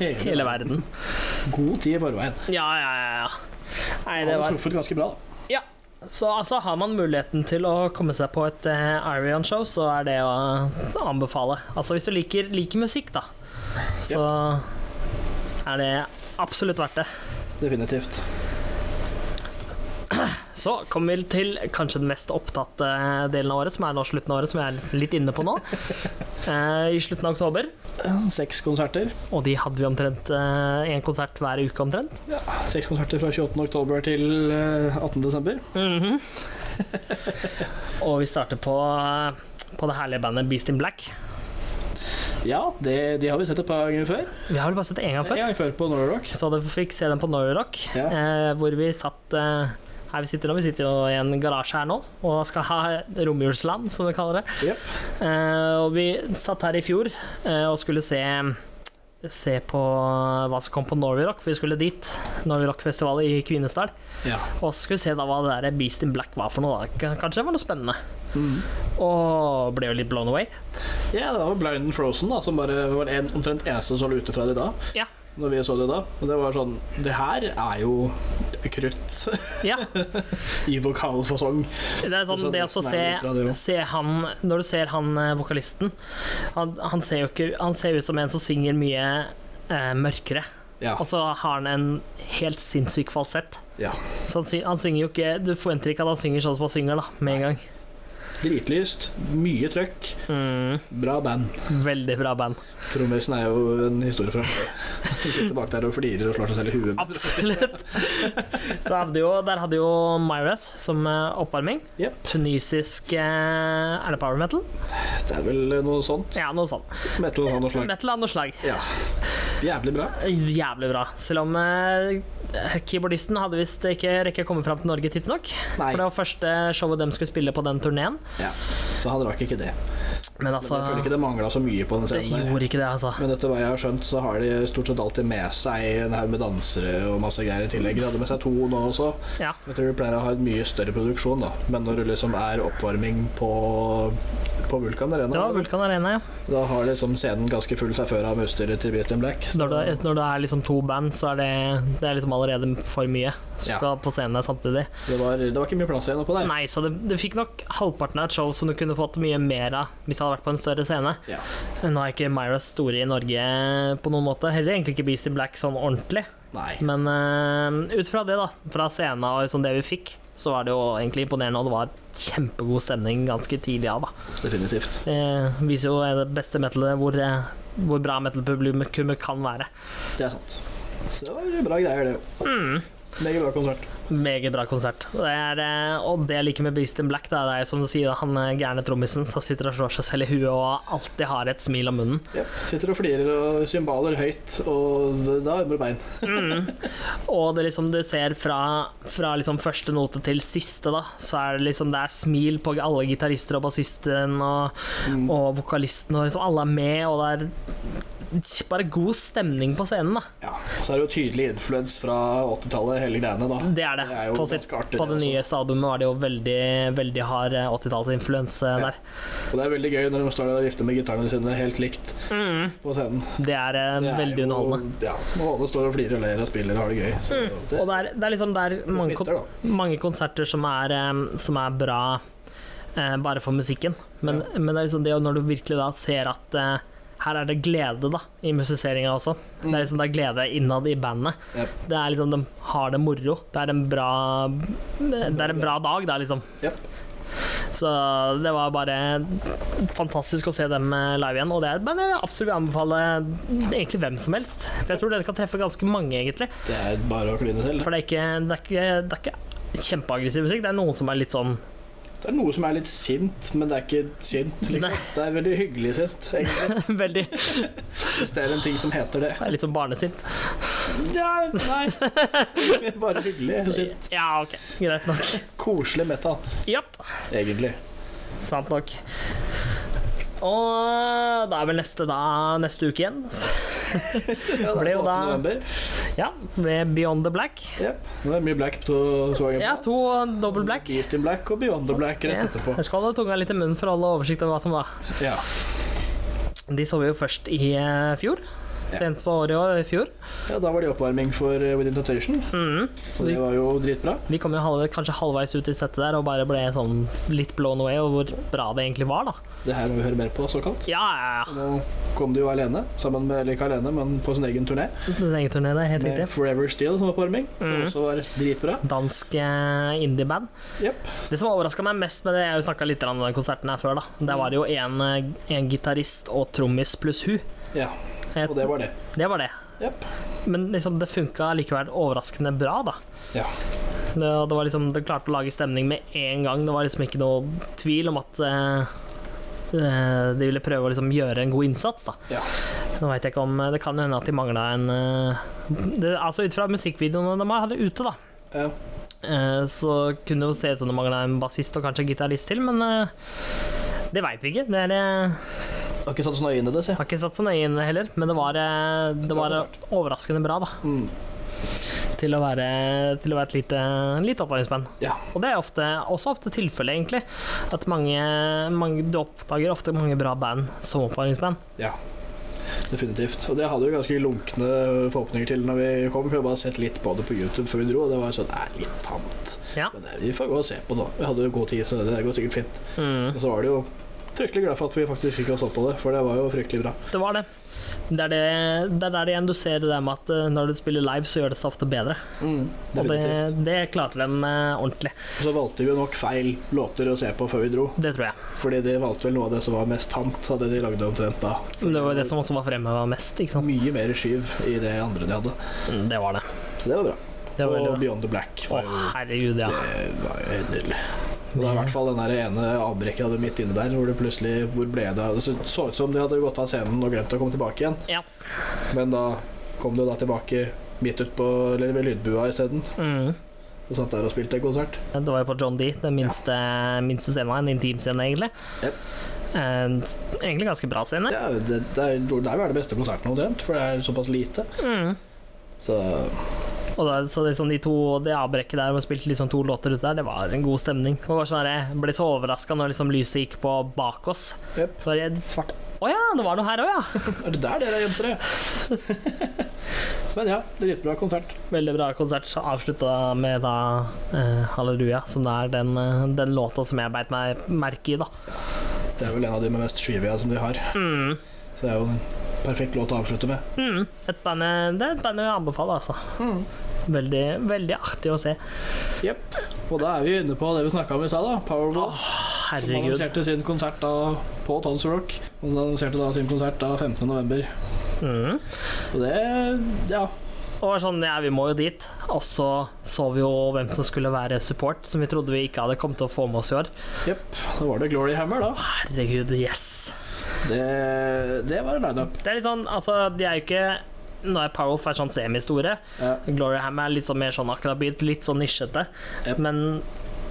Speaker 1: Hele verden.
Speaker 2: God tid i forveien.
Speaker 1: Ja, ja, ja. ja. Nei, det
Speaker 2: Har
Speaker 1: var
Speaker 2: truffet ganske bra, da.
Speaker 1: Så altså, har man muligheten til å komme seg på et eh, Arion-show, så er det å anbefale. Altså hvis du liker, liker musikk, da, så er det absolutt verdt det.
Speaker 2: Definitivt.
Speaker 1: Så kommer vi til kanskje den mest opptatte delen av året, som er nå slutten av året, som jeg er litt inne på nå. Eh, I slutten av oktober.
Speaker 2: Seks konserter.
Speaker 1: Og de hadde vi omtrent én konsert hver uke, omtrent.
Speaker 2: Ja. Seks konserter fra 28. oktober til eh, 18. desember.
Speaker 1: Mhm. Og vi starter på, eh, på det herlige bandet Beast in Black.
Speaker 2: Ja, det, de har vi sett et par ganger før.
Speaker 1: Vi har vel bare sett det én gang før.
Speaker 2: En gang før på Norway Rock.
Speaker 1: Så dere fikk se den på Norway Rock,
Speaker 2: Ja.
Speaker 1: eh, hvor vi satt eh, her vi sitter nå. Vi sitter jo i en garasje her nå og skal ha romjulsland, som vi kaller det.
Speaker 2: Jep.
Speaker 1: Eh, og vi satt her i fjor eh, og skulle se Se på hva som kom på Norway Rock, for vi skulle dit. Norway Rock-festival i Kvinesdal.
Speaker 2: Ja.
Speaker 1: Og så skulle vi se da hva det der Beast in Black var for noe. da K- Kanskje det var noe spennende.
Speaker 2: Mhm.
Speaker 1: Og ble jo litt blown away.
Speaker 2: Ja, det var Blind and Frozen, da, som bare var en, omtrent eneste som lå ute fra det da.
Speaker 1: Ja.
Speaker 2: Når vi så det da. Og det var sånn Det her er jo krutt
Speaker 1: Ja,
Speaker 2: i vokalfasong.
Speaker 1: Det er sånn
Speaker 2: Så
Speaker 1: det også å
Speaker 2: nesten
Speaker 1: se,
Speaker 2: er det bra, det også.
Speaker 1: se han Når du ser han eh, vokalisten han, han ser jo ikke Han ser ut som en som synger mye eh, mørkere.
Speaker 2: Ja.
Speaker 1: Og så har han en helt sinnssyk falsett.
Speaker 2: ja.
Speaker 1: Så han, sy- han synger jo ikke Du forventer ikke at han synger sånn som han synger, da, med en gang.
Speaker 2: Dritlyst, mye trøkk,
Speaker 1: Mm,
Speaker 2: bra band.
Speaker 1: veldig bra band.
Speaker 2: Trommisen er jo en historie fra før. Han Sitter bak der og flirer og slår seg selv i huet.
Speaker 1: Absolutt. Så hadde jo, der hadde jo Myreth som eh, oppvarming.
Speaker 2: Jep.
Speaker 1: Tunisisk eh, Er det power metal?
Speaker 2: Det er vel eh, noe sånt.
Speaker 1: Ja, noe sånt.
Speaker 2: Metal av noe slag.
Speaker 1: Metal av noe slag.
Speaker 2: Ja. Jævlig bra.
Speaker 1: Jævlig bra. Selv om eh, keyboardisten hadde visst ikke rekke å komme fram til Norge tidsnok.
Speaker 2: Nei.
Speaker 1: For det var første showet de skulle spille på den turneen.
Speaker 2: Ja. Så han rakk ikke det.
Speaker 1: Men
Speaker 2: Men
Speaker 1: altså
Speaker 2: jeg føler ikke det mangla så mye på den
Speaker 1: Det
Speaker 2: scenen der.
Speaker 1: gjorde ikke det, altså.
Speaker 2: Men etter hva jeg har skjønt, så har de stort sett alltid med seg en haug med dansere og masse greier i tillegg. De hadde med seg to nå også.
Speaker 1: Ja.
Speaker 2: Jeg tror de pleier å ha en mye større produksjon, da. Men når det liksom er oppvarming på, på Vulkan Arena,
Speaker 1: Det var Vulkan Arena, ja.
Speaker 2: da har liksom scenen ganske full fra før av med utstyret til Beast in Black.
Speaker 1: Så Når det, når det er liksom to band, så er det, det er liksom allerede for mye som
Speaker 2: Ja.
Speaker 1: skal på scenen samtidig.
Speaker 2: Så det, var, det var ikke mye plass igjen oppå der.
Speaker 1: Nei, så det, det fikk nok halvparten av et show som du kunne fått mye mer av hvis det hadde vært på en større scene.
Speaker 2: Ja.
Speaker 1: Nå er ikke Myras store i Norge på noen måte, heller egentlig ikke Beast in Black sånn ordentlig.
Speaker 2: Nei.
Speaker 1: Men eh, ut fra det, da, fra scenen og liksom det vi fikk, så var det jo egentlig imponerende, og det var kjempegod stemning ganske tidlig av, da.
Speaker 2: Definitivt.
Speaker 1: Det viser jo det beste metalet hvor, eh, hvor bra metal-publikummet kan være.
Speaker 2: Det er sant. Så det var bra greier, det jo.
Speaker 1: Mm.
Speaker 2: Meget bra konsert.
Speaker 1: Meget bra konsert. Det er, eh, og det jeg liker med Beast in Black, det er, det er som du sier, han eh, gærne trommisen som sitter og slår seg selv i huet og alltid har et smil om munnen.
Speaker 2: Jep. Sitter og flirer og cymbaler høyt, og da ømmer bein.
Speaker 1: Og det liksom du ser fra, fra liksom første note til siste, da, så er det liksom det er smil på alle gitarister og bassisten og,
Speaker 2: Mm.
Speaker 1: og vokalisten, og liksom alle er med, og det er bare god stemning på scenen, da.
Speaker 2: Ja, så er det jo tydelig influens fra 80-tallet, hele greiene da.
Speaker 1: Det er er det.
Speaker 2: Det er jo
Speaker 1: på, sitt,
Speaker 2: ganske artig,
Speaker 1: på det
Speaker 2: det altså. også.
Speaker 1: nyeste albumet var det jo veldig, veldig hard eh, 80-tallsinfluens eh, der.
Speaker 2: Og det er veldig gøy når de står der og vifter med gitarene sine helt likt
Speaker 1: Mm,
Speaker 2: på scenen.
Speaker 1: det er eh,
Speaker 2: Det er
Speaker 1: veldig
Speaker 2: jo-
Speaker 1: underholdende. Mm.
Speaker 2: Ja, og alle står og flirer og ler og spiller og har det gøy. Så det,
Speaker 1: Og det er, det er liksom det er mange, kon-
Speaker 2: smitter, da.
Speaker 1: mange konserter som er, eh, som er bra eh, bare for musikken, men, men det er liksom det jo når du virkelig da ser at eh, her er det glede da i musiseringa også. Det er liksom det er glede innad i bandet.
Speaker 2: Jep.
Speaker 1: Det er liksom De har det moro. Det er en bra Det er en bra dag, da, liksom.
Speaker 2: Jep.
Speaker 1: Så det var bare fantastisk å se dem eh, live igjen. Og det er men jeg vil absolutt anbefale egentlig hvem som helst. For jeg tror dere kan treffe ganske mange, egentlig.
Speaker 2: det er bare å kline til.
Speaker 1: For det er ikke, det er ikke, det er ikke kjempeaggressiv musikk. Det er noen som er litt sånn
Speaker 2: Det er noe som er litt sint, men det er ikke sint. Liksom.
Speaker 1: Nei.
Speaker 2: Det er veldig hyggelig sint, egentlig,
Speaker 1: veldig
Speaker 2: hvis det er en ting som heter det.
Speaker 1: det er Litt sånn barnesint.
Speaker 2: Ja, nei Egentlig Bare hyggelig sint.
Speaker 1: Ja, OK. Greit nok.
Speaker 2: Koselig metal,
Speaker 1: Japp.
Speaker 2: egentlig.
Speaker 1: Sant nok. Og da er vel neste da neste uke igjen.
Speaker 2: Ja, det
Speaker 1: Ble
Speaker 2: er
Speaker 1: jo
Speaker 2: 8.
Speaker 1: da-
Speaker 2: november.
Speaker 1: Ja, med Beyond the Black.
Speaker 2: Jep. Nå er det mye black på to
Speaker 1: Ja, to double black.
Speaker 2: East in black og Beyond the black rett etterpå.
Speaker 1: Jeg skal holde tunga litt i munnen for å holde oversikt over hva som var.
Speaker 2: Ja.
Speaker 1: De så vi jo først i eh, fjor. Sent på året i år, i fjor.
Speaker 2: ja, Da var det oppvarming for eh, Within Temptation,
Speaker 1: Mhm.
Speaker 2: og det var jo dritbra.
Speaker 1: Vi kom jo halve, kanskje halvveis ut i settet der og bare ble sånn litt blown away over hvor bra det egentlig var, da.
Speaker 2: Det her må vi høre mer på, såkalt.
Speaker 1: Ja, ja, ja.
Speaker 2: Nå kom de jo alene, sammen med, eller ikke alene, men på sin egen turné.
Speaker 1: Den egen turné, det er helt
Speaker 2: Med
Speaker 1: riktig.
Speaker 2: Forever Still som oppvarming, som
Speaker 1: Mhm.
Speaker 2: også var dritbra.
Speaker 1: Dansk eh, indieband.
Speaker 2: Jep.
Speaker 1: Det som overraska meg mest med det, jeg har jo snakka litt om den konserten her før, da. Der var det jo en, eh, en gitarist og trommis pluss hun.
Speaker 2: Ja,
Speaker 1: Eh,
Speaker 2: og det var det.
Speaker 1: Det var det.
Speaker 2: Jep.
Speaker 1: Men liksom, det funka likevel overraskende bra, da.
Speaker 2: Ja.
Speaker 1: Det, og det var liksom, det klarte å lage stemning med en gang. Det var liksom ikke noe tvil om at eh, eh, de ville prøve å liksom gjøre en god innsats. Da.
Speaker 2: Ja.
Speaker 1: Nå vet jeg ikke om eh, Det kan hende at de mangla en eh, det, Altså Ut fra musikkvideoene de hadde ute, da,
Speaker 2: Ja.
Speaker 1: eh, så kunne det jo se ut som det mangla en bassist og kanskje en gitarist til, men eh, det veit vi ikke. Det er, eh,
Speaker 2: Har ikke satt så nøye inn i det, se.
Speaker 1: har ikke satt så nøye inn heller, men det var, eh, det
Speaker 2: Bra
Speaker 1: var
Speaker 2: konsert.
Speaker 1: overraskende bra da
Speaker 2: Mm.
Speaker 1: til å være, til å være et lite, lite oppvarmingsband.
Speaker 2: Ja.
Speaker 1: Og det er ofte, også ofte tilfellet, egentlig. At mange, mange Du oppdager ofte mange bra band som oppvarmingsband.
Speaker 2: ja. Definitivt. Og det hadde vi ganske lunkne forhåpninger til når vi kom. For vi hadde bare sett litt på det på YouTube før vi dro, og det var sånn Det er litt tamt.
Speaker 1: Ja.
Speaker 2: Men det, vi får gå og se på det. Vi hadde jo god tid, så det går sikkert fint.
Speaker 1: Mm.
Speaker 2: Og så var det jo fryktelig glad for at vi faktisk ikke så på det, for det var jo fryktelig bra.
Speaker 1: Det var det. Det er, det, det er der igjen du ser det der med at eh, når du spiller live, så gjør det seg ofte bedre. Og det,
Speaker 2: Mm, Definitivt.
Speaker 1: det klarte de eh, ordentlig.
Speaker 2: Og så valgte vi jo nok feil låter å se på før vi dro,
Speaker 1: Det tror jeg.
Speaker 2: fordi de valgte vel noe av det som var mest tamt av det de lagde omtrent da.
Speaker 1: Det var jo det som også var fremheva mest. Ikke sant?
Speaker 2: Mye mer skyv i det andre de hadde,
Speaker 1: Mm, Det var det.
Speaker 2: så det var bra.
Speaker 1: det var
Speaker 2: og
Speaker 1: veldig bra.
Speaker 2: Beyond the Black
Speaker 1: Å,
Speaker 2: var jo
Speaker 1: herregud, ja.
Speaker 2: Det var jo helt nydelig. Og det er i hvert fall den der ene avbrekket jeg hadde midt inne der, hvor det plutselig Hvor ble det av? Det så så ut som de hadde gått av scenen og glemt å komme tilbake igjen,
Speaker 1: Ja.
Speaker 2: men da kom de jo da tilbake midt utpå, eller ved lydbua isteden,
Speaker 1: Mm.
Speaker 2: og satt der og spilte konsert.
Speaker 1: Det var jo på John D, den minste, minste scenen, en intim scene egentlig.
Speaker 2: Jep.
Speaker 1: En, egentlig ganske bra scene.
Speaker 2: Ja, det, det er jo der er det beste konserten omtrent, for det er såpass lite.
Speaker 1: Mm.
Speaker 2: Så
Speaker 1: Og da, så liksom de to, det avbrekket der, og spilte liksom to låter ut der, det var en god stemning. Det var bare sånn der, jeg ble så overraska når liksom lyset gikk på bak oss.
Speaker 2: Jep.
Speaker 1: Så var jeg svart Å ja, det var noe her òg, ja!
Speaker 2: er det der dere gjemte dere? Men ja, dritbra konsert.
Speaker 1: Veldig bra konsert. Avslutta med da eh, 'Halleluja', som det er den, eh, den låta som jeg beit meg merke i, da.
Speaker 2: Det er vel en av de med mest skyvia som de har.
Speaker 1: Mm.
Speaker 2: Så det er jo en perfekt låt å avslutte med.
Speaker 1: Mm, et band, det er et band jeg anbefaler, altså.
Speaker 2: Mm.
Speaker 1: Veldig, veldig artig å se.
Speaker 2: Jepp. Og da er vi inne på det vi snakka om i stad, da. Powerball. som
Speaker 1: Herregud.
Speaker 2: annonserte sin konsert da på Tonsor Rock. Og så annonserte da sin konsert da 15.11.
Speaker 1: Mm.
Speaker 2: Og det Ja.
Speaker 1: Og var sånn, ja, vi må jo dit. Og så så vi jo hvem som skulle være support, som vi trodde vi ikke hadde kommet til å få med oss i år.
Speaker 2: Jepp. Da var det Glory Hammer, da.
Speaker 1: Herregud, yes!
Speaker 2: Det, det var en lineup.
Speaker 1: Det er litt sånn, altså, de er jo ikke Nå er Powerwolf er sånn semistore.
Speaker 2: Ja.
Speaker 1: Gloria Ham er litt sånn mer sånn akrabit, litt sånn nisjete.
Speaker 2: Yep.
Speaker 1: Men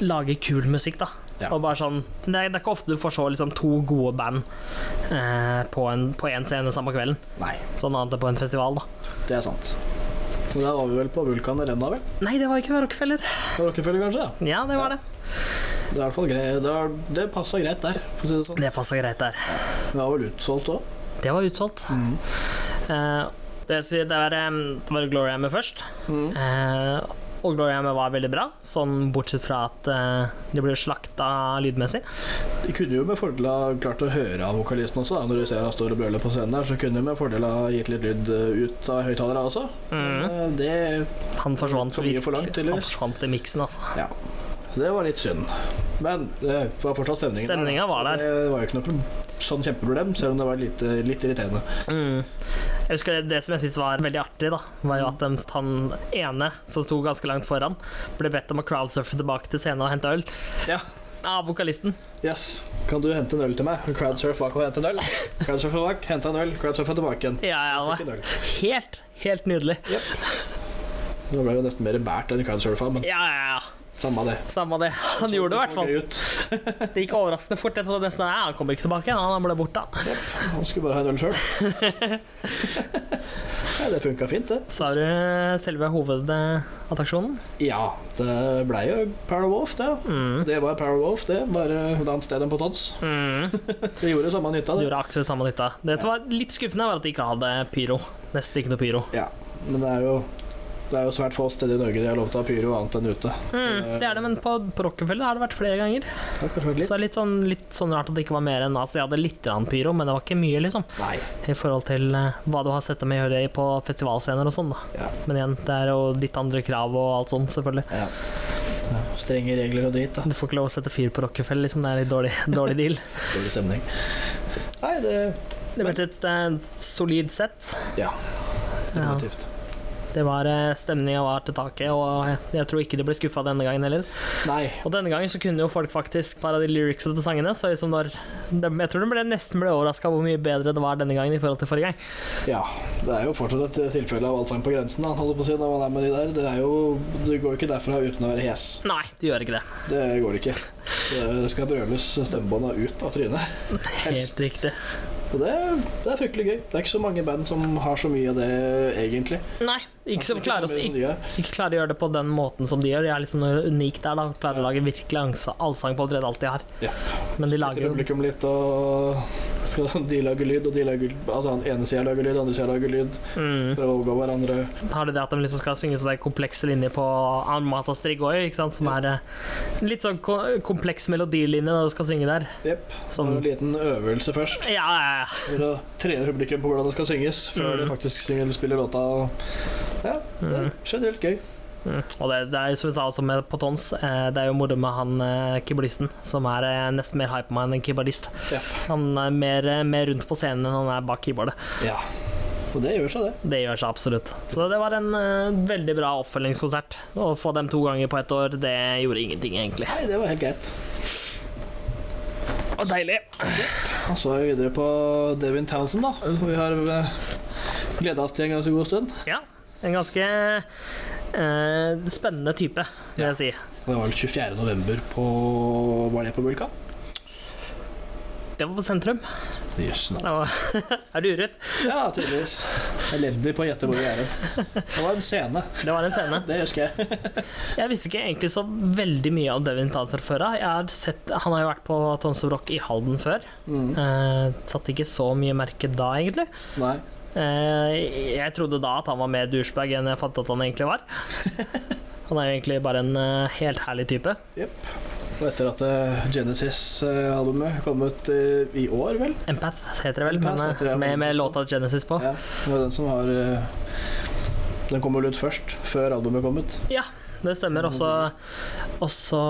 Speaker 1: lage kul musikk, da.
Speaker 2: Ja.
Speaker 1: Og bare sånn det er, det er ikke ofte du får se liksom, to gode band eh, på én scene samme kvelden.
Speaker 2: Nei,
Speaker 1: Sånn annet enn på en festival, da.
Speaker 2: det er sant. Men der var vi vel på Vulkan Arena, vel?
Speaker 1: Nei, det var ikke Rockefeller.
Speaker 2: På Rockefeller, kanskje?
Speaker 1: Ja, det var
Speaker 2: Ja.
Speaker 1: det.
Speaker 2: Det, er i hvert fall grei- det, er- det passa greit der, for å si det sånn.
Speaker 1: Det passa greit der.
Speaker 2: Det var vel utsolgt òg.
Speaker 1: Det var utsolgt. Eh, det, vil si, det, var, em, det var Glory Hammer først.
Speaker 2: Mhm.
Speaker 1: Eh, og Glory Hammer var veldig bra, sånn bortsett fra at eh, det ble slakta lydmessig.
Speaker 2: De kunne jo med fordel ha klart å høre av vokalisten også. Da. Når du ser han står og brøler på scenen der, så kunne de med fordel ha gitt litt lyd eh, ut av høyttalerne også.
Speaker 1: Mhm.
Speaker 2: Eh, Det,
Speaker 1: Han forsvant
Speaker 2: For mye
Speaker 1: virk-
Speaker 2: for langt,
Speaker 1: Han
Speaker 2: tydeligvis.
Speaker 1: forsvant i miksen, altså.
Speaker 2: ja. så det var litt synd. Men eh, det var fortsatt stemningen.
Speaker 1: Stemningen
Speaker 2: da.
Speaker 1: var
Speaker 2: Så
Speaker 1: der.
Speaker 2: Det var jo ikke noe prob- sånn kjempeproblem, selv om det var litt, eh, litt irriterende.
Speaker 1: Mm. Jeg husker det, det som jeg syntes var veldig artig, da, var jo at dem- han ene som sto ganske langt foran, ble bedt om å crowdsurfe tilbake til scenen og hente øl
Speaker 2: Ja.
Speaker 1: av vokalisten.
Speaker 2: Yes, kan du hente en øl til meg? Crowdsurf bak og hente en øl. Crowdsurf bak, hente en øl, crowdsurf tilbake igjen.
Speaker 1: Ja, ja,
Speaker 2: Fikk
Speaker 1: det
Speaker 2: en
Speaker 1: var
Speaker 2: øl.
Speaker 1: helt, helt nydelig.
Speaker 2: Nå ble det jo nesten mer bært enn crowdsurfa, men
Speaker 1: Ja, ja, ja.
Speaker 2: samme det.
Speaker 1: Samme det. Han gjorde det i hvert fall.
Speaker 2: Det så gøy ut.
Speaker 1: Det gikk overraskende fort. Jeg trodde nesten Nei, han kommer ikke tilbake. igjen, Han ble borte.
Speaker 2: Han skulle bare ha en øl sjøl. ja, det funka fint, det.
Speaker 1: Så har du selve hovedattraksjonen.
Speaker 2: Ja, det blei jo Power Wolf, det.
Speaker 1: Mm.
Speaker 2: Det var Power Wolf, det. Bare et annet sted enn på Tots.
Speaker 1: Mm.
Speaker 2: Det gjorde samme nytta,
Speaker 1: Du
Speaker 2: det.
Speaker 1: gjorde akkurat samme nytta. Det som var litt skuffende, var at de ikke hadde pyro. Nesten ikke noe pyro.
Speaker 2: Ja, men det er jo det er jo svært få steder i Norge de har lov til å ha pyro annet enn ute. Så
Speaker 1: Mm, det er det, men på, på Rockefeller har det vært flere ganger.
Speaker 2: det har kanskje
Speaker 1: Så
Speaker 2: vært litt.
Speaker 1: det er litt sånn, litt sånn rart at det ikke var mer enn Altså, jeg hadde litt grann pyro, men det var ikke mye, liksom.
Speaker 2: Nei.
Speaker 1: I forhold til eh, hva du har sett dem gjøre på festivalscener og sånn, da.
Speaker 2: Ja.
Speaker 1: Men igjen, det er jo litt andre krav og alt sånn, selvfølgelig.
Speaker 2: ja. ja. Strenge regler og dritt, da.
Speaker 1: Du får ikke lov å sette fyr på Rockefeller, liksom. Det er litt dårlig, dårlig deal.
Speaker 2: Dårlig stemning. Nei, det
Speaker 1: Leverte et eh, solid sett.
Speaker 2: Ja.
Speaker 1: Ja,
Speaker 2: Relativt.
Speaker 1: det var Stemninga var til taket, og jeg- jeg tror ikke de ble skuffa denne gangen heller.
Speaker 2: Nei.
Speaker 1: Og denne gangen så kunne jo folk faktisk bare de lyricsa til sangene, så liksom når de, Jeg tror de ble, nesten ble overraska hvor mye bedre det var denne gangen i forhold til forrige gang.
Speaker 2: Ja. Det er jo fortsatt et tilfelle av allsang på grensen, da, holdt jeg på å si, når man er med de der. Det er jo Du går jo ikke derfra uten å være hes.
Speaker 1: Nei, de gjør ikke det.
Speaker 2: Det går ikke. Det skal brøles stemmebånda ut av trynet.
Speaker 1: Helt riktig.
Speaker 2: Og det, det er fryktelig gøy. Det er ikke så mange band som har så mye av det, egentlig. Altså,
Speaker 1: Nei, ikke som klarer å ikke,
Speaker 2: ikke, ikke.
Speaker 1: ikke klarer å gjøre det på den måten som de gjør. De er liksom noe unikt der, da. Klarer å lage virkelig angsa- allsang på omtrent alt de har.
Speaker 2: Ja.
Speaker 1: Men de lager
Speaker 2: Lager
Speaker 1: jo
Speaker 2: publikum litt, og skal de lage lyd, og de lager Altså, den ene sida lager lyd, andre sida lager lyd.
Speaker 1: mm.
Speaker 2: Prøve å overgå hverandre.
Speaker 1: har det det at de liksom skal synge sånne komplekse linjer på Armata Strigoi, ikke sant, som er eh, litt sånn ko kompleks melodilinje når du skal synge der.
Speaker 2: Jepp. Så
Speaker 1: Sånn.
Speaker 2: en liten øvelse først.
Speaker 1: Ja, ja, ja.
Speaker 2: For å trene publikum på hvordan det skal synges, før
Speaker 1: Mm.
Speaker 2: de faktisk synger, spiller låta. Og ja, det er
Speaker 1: Mm.
Speaker 2: generelt gøy.
Speaker 1: Mm. Og det, det er jo som vi sa også med på Tons, eh, det er jo moro med han eh, keyboardisten, som er eh, nesten mer hype man enn keyboardist.
Speaker 2: Ja.
Speaker 1: Han er mer, eh, mer rundt på scenen enn han er bak keyboardet.
Speaker 2: ja. Og det gjør seg, det.
Speaker 1: Det gjør seg absolutt. Så det var en eh, veldig bra oppfølgingskonsert. Å få dem to ganger på ett år, det gjorde ingenting, egentlig.
Speaker 2: Nei, det var helt greit.
Speaker 1: Og deilig.
Speaker 2: Og så er vi videre på Devin Townsend, da. Som vi har gleda oss til en ganske god stund.
Speaker 1: Ja. En ganske eh, spennende type, vil jeg si.
Speaker 2: Det var vel 24. november på Var det på Vulkan?
Speaker 1: Det var på sentrum.
Speaker 2: Jøss.
Speaker 1: Det var er du urett?
Speaker 2: Ja, tydeligvis. Elendig på å gjette hvor vi er. Det var en scene.
Speaker 1: Det var en scene.
Speaker 2: Det husker jeg.
Speaker 1: Jeg visste ikke egentlig så veldig mye om Devin Townsend før. da. Jeg har sett, han har jo vært på Tons of Rock i Halden før.
Speaker 2: Mm.
Speaker 1: Eh, satt ikke så mye merke da, egentlig.
Speaker 2: Nei.
Speaker 1: Eh, jeg trodde da at han var mer douchebag enn jeg fattet at han egentlig var. Han er jo egentlig bare en eh, helt herlig type.
Speaker 2: Og etter at eh, Genesis-albumet kom ut eh, i år, vel
Speaker 1: Empath heter det vel,
Speaker 2: Empath
Speaker 1: men, eh,
Speaker 2: heter det,
Speaker 1: med, med
Speaker 2: men-
Speaker 1: låta Genesis på.
Speaker 2: Ja, det var den som har eh, Den kom vel ut først, før albumet kom ut.
Speaker 1: Det stemmer. Også, også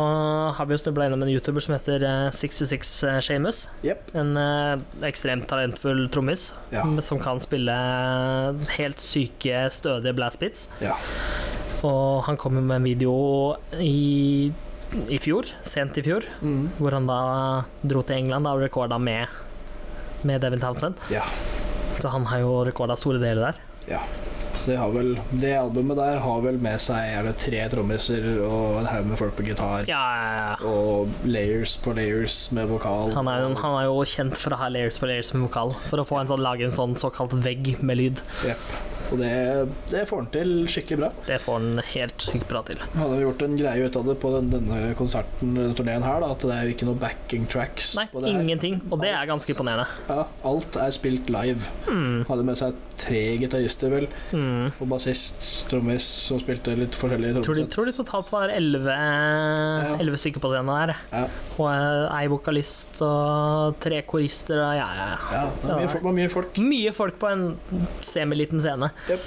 Speaker 1: har vi jo snubla innom en youtuber som heter eh, 66 Shamus.
Speaker 2: Jepp.
Speaker 1: En eh, ekstremt talentfull trommis
Speaker 2: Ja.
Speaker 1: som kan spille eh, helt syke, stødige blastbeats.
Speaker 2: Ja.
Speaker 1: Og han kom jo med en video i, i fjor, sent i fjor,
Speaker 2: Mm.
Speaker 1: hvor han da dro til England da, og rekorda med, med Devin Townsend.
Speaker 2: Ja.
Speaker 1: Så han har jo rekorda store deler der.
Speaker 2: Så de har vel, Det albumet der har vel med seg er det tre trommiser og en haug med folk på gitar.
Speaker 1: Ja, ja, ja.
Speaker 2: Og layers på layers med vokal.
Speaker 1: Han er, jo, han er jo kjent for å ha layers på layers med vokal, for å få en sånn, lage en sånn såkalt vegg med lyd.
Speaker 2: Jepp. Og det, det får han til skikkelig bra.
Speaker 1: Det får han helt sykt bra til.
Speaker 2: Han hadde gjort en greie ut av det på den, denne konserten, denne turneen her, da, at det er jo ikke noe backing tracks
Speaker 1: Nei,
Speaker 2: på det her.
Speaker 1: ingenting. Og det er ganske imponerende.
Speaker 2: Ja, alt er spilt live.
Speaker 1: Mm,
Speaker 2: Han hadde med seg tre gitarister, vel,
Speaker 1: mm.
Speaker 2: og bassist, trommis, som spilte litt
Speaker 1: Tror,
Speaker 2: forskjellige
Speaker 1: de,
Speaker 2: trommesett.
Speaker 1: tror de totalt var elleve elleve stykker på scenen der.
Speaker 2: Ja.
Speaker 1: Og eh, ei vokalist og tre korister og ja, ja, ja.
Speaker 2: Ja, det var mye, folk- det var mye folk.
Speaker 1: Mye folk på en semiliten scene.
Speaker 2: Jep.